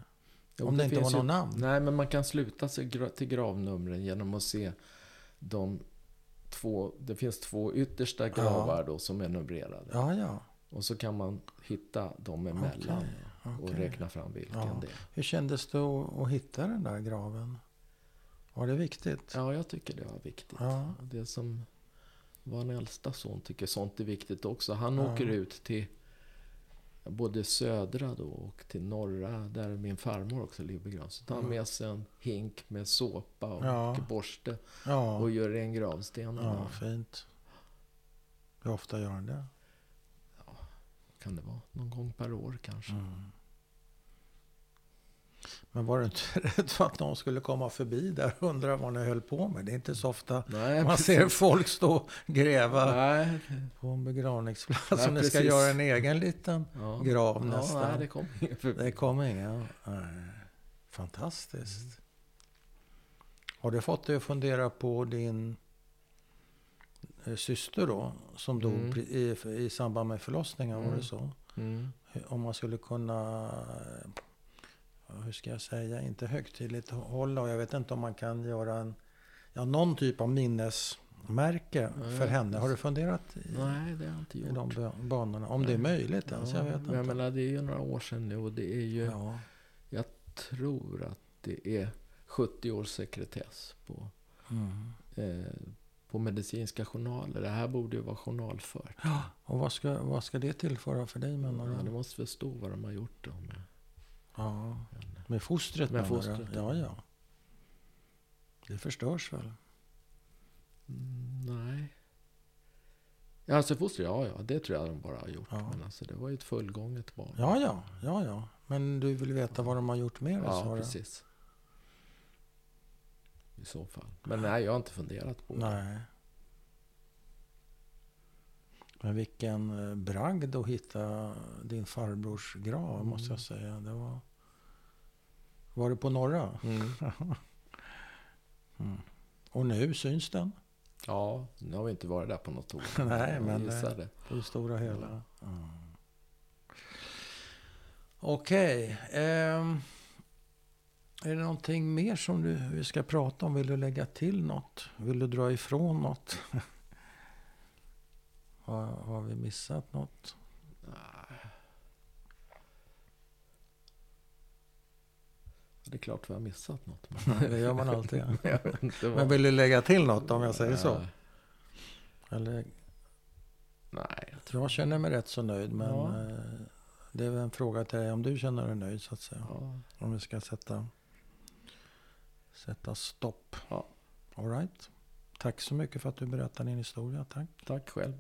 B: Jo,
A: Om det, inte var
B: finns
A: någon
B: ju-
A: namn?
B: Nej, men man kan sluta sig gra- till gravnumren genom att se de två... Det finns två yttersta gravar då som är numrerade.
A: Ja, ja.
B: Och så kan man hitta dem emellan och
A: okej.
B: räkna fram vilken
A: Ja.
B: det är.
A: Hur kändes det att, att hitta den där graven? Var det viktigt?
B: Ja, jag tycker det var viktigt.
A: Ja.
B: Och Det som vår äldsta son tycker sånt är viktigt också. Han
A: Ja.
B: åker ut till både södra då och till norra där min farmor också ligger begravd. Så tar han med sig en hink med såpa och
A: Ja.
B: borste
A: Ja,
B: och gör en gravsten. av
A: ja
B: den.
A: fint. Hur ofta gör han det?
B: Kan det vara någon gång per år kanske?
A: Mm. Men var du inte [LAUGHS] rädd för att någon skulle komma förbi där och undra vad ni höll på med? Det är inte så ofta
B: Nej,
A: man
B: precis.
A: ser folk stå och gräva
B: Nej,
A: på en begravningsplats.
B: Nej,
A: Om ni ska
B: precis.
A: göra en egen liten
B: ja.
A: grav
B: ja,
A: nästan.
B: nej, det kom ingen förbi.
A: Det kommer inga. Nej. Fantastiskt. Har du fått dig att fundera på din eh, syster då, som dog
B: Mm.
A: pre- i, i samband med förlossningen, var
B: Mm.
A: det så?
B: Mm.
A: Hur- Om man skulle kunna, eh, ja, hur ska jag säga, inte högtidligt hålla och jag vet inte om man kan göra en, ja, någon typ av minnesmärke
B: Nej,
A: för henne. Har du
B: precis.
A: funderat i,
B: Nej, det har jag inte
A: i de
B: gjort.
A: ba- banorna? Om det är
B: Nej.
A: möjligt ens, jag vet
B: men jag
A: inte.
B: menar, det är ju några år sedan nu och det är ju,
A: Ja,
B: tror att det är 70 års sekretess på,
A: mm.
B: eh, på medicinska journaler. Det här borde ju vara journalfört.
A: Och vad ska, vad ska det tillföra för dig menar
B: Ja,
A: du?
B: det måste förstå vad de har gjort då med.
A: Ja, med fostret
B: Med
A: menar du?
B: fostret,
A: Ja, ja. Det förstörs väl?
B: Mm, Nej. Ja, alltså foster, ja, ja, det tror jag de bara har gjort.
A: Ja.
B: Men alltså det var ju ett fullgånget barn.
A: Ja, ja, ja, ja. Men du vill veta vad de har gjort mer?
B: Ja,
A: sa du?
B: precis. I så fall. Men nej, jag har inte funderat på det.
A: Nej. Men vilken eh, bragd att hitta din farbrors grav,
B: Mm.
A: måste jag säga. Det var... Var det på norra?
B: Mm.
A: Och nu syns den?
B: Ja, nu har vi inte varit där på något år.
A: [LAUGHS] Nej,
B: Jag
A: men, eh,
B: gissar det.
A: På det stora hela. Mm. Okej. ehm, är det någonting mer som du vi ska prata om? Vill du lägga till något? Vill du dra ifrån något? [LAUGHS] har, har vi missat något?
B: Det är klart vi har missat något. Men
A: [LAUGHS] Det gör man alltid.
B: [LAUGHS] jag vet inte vad-
A: Men vill du lägga till något om jag säger så?
B: Nej,
A: Eller,
B: Nej.
A: jag känner mig rätt så nöjd, men
B: Ja.
A: eh, det är väl en fråga till dig om du känner dig nöjd så att säga.
B: Ja.
A: Om vi ska sätta, sätta stopp.
B: Ja.
A: All right. Tack så mycket för att du berättade din historia. Tack.
B: Tack själv.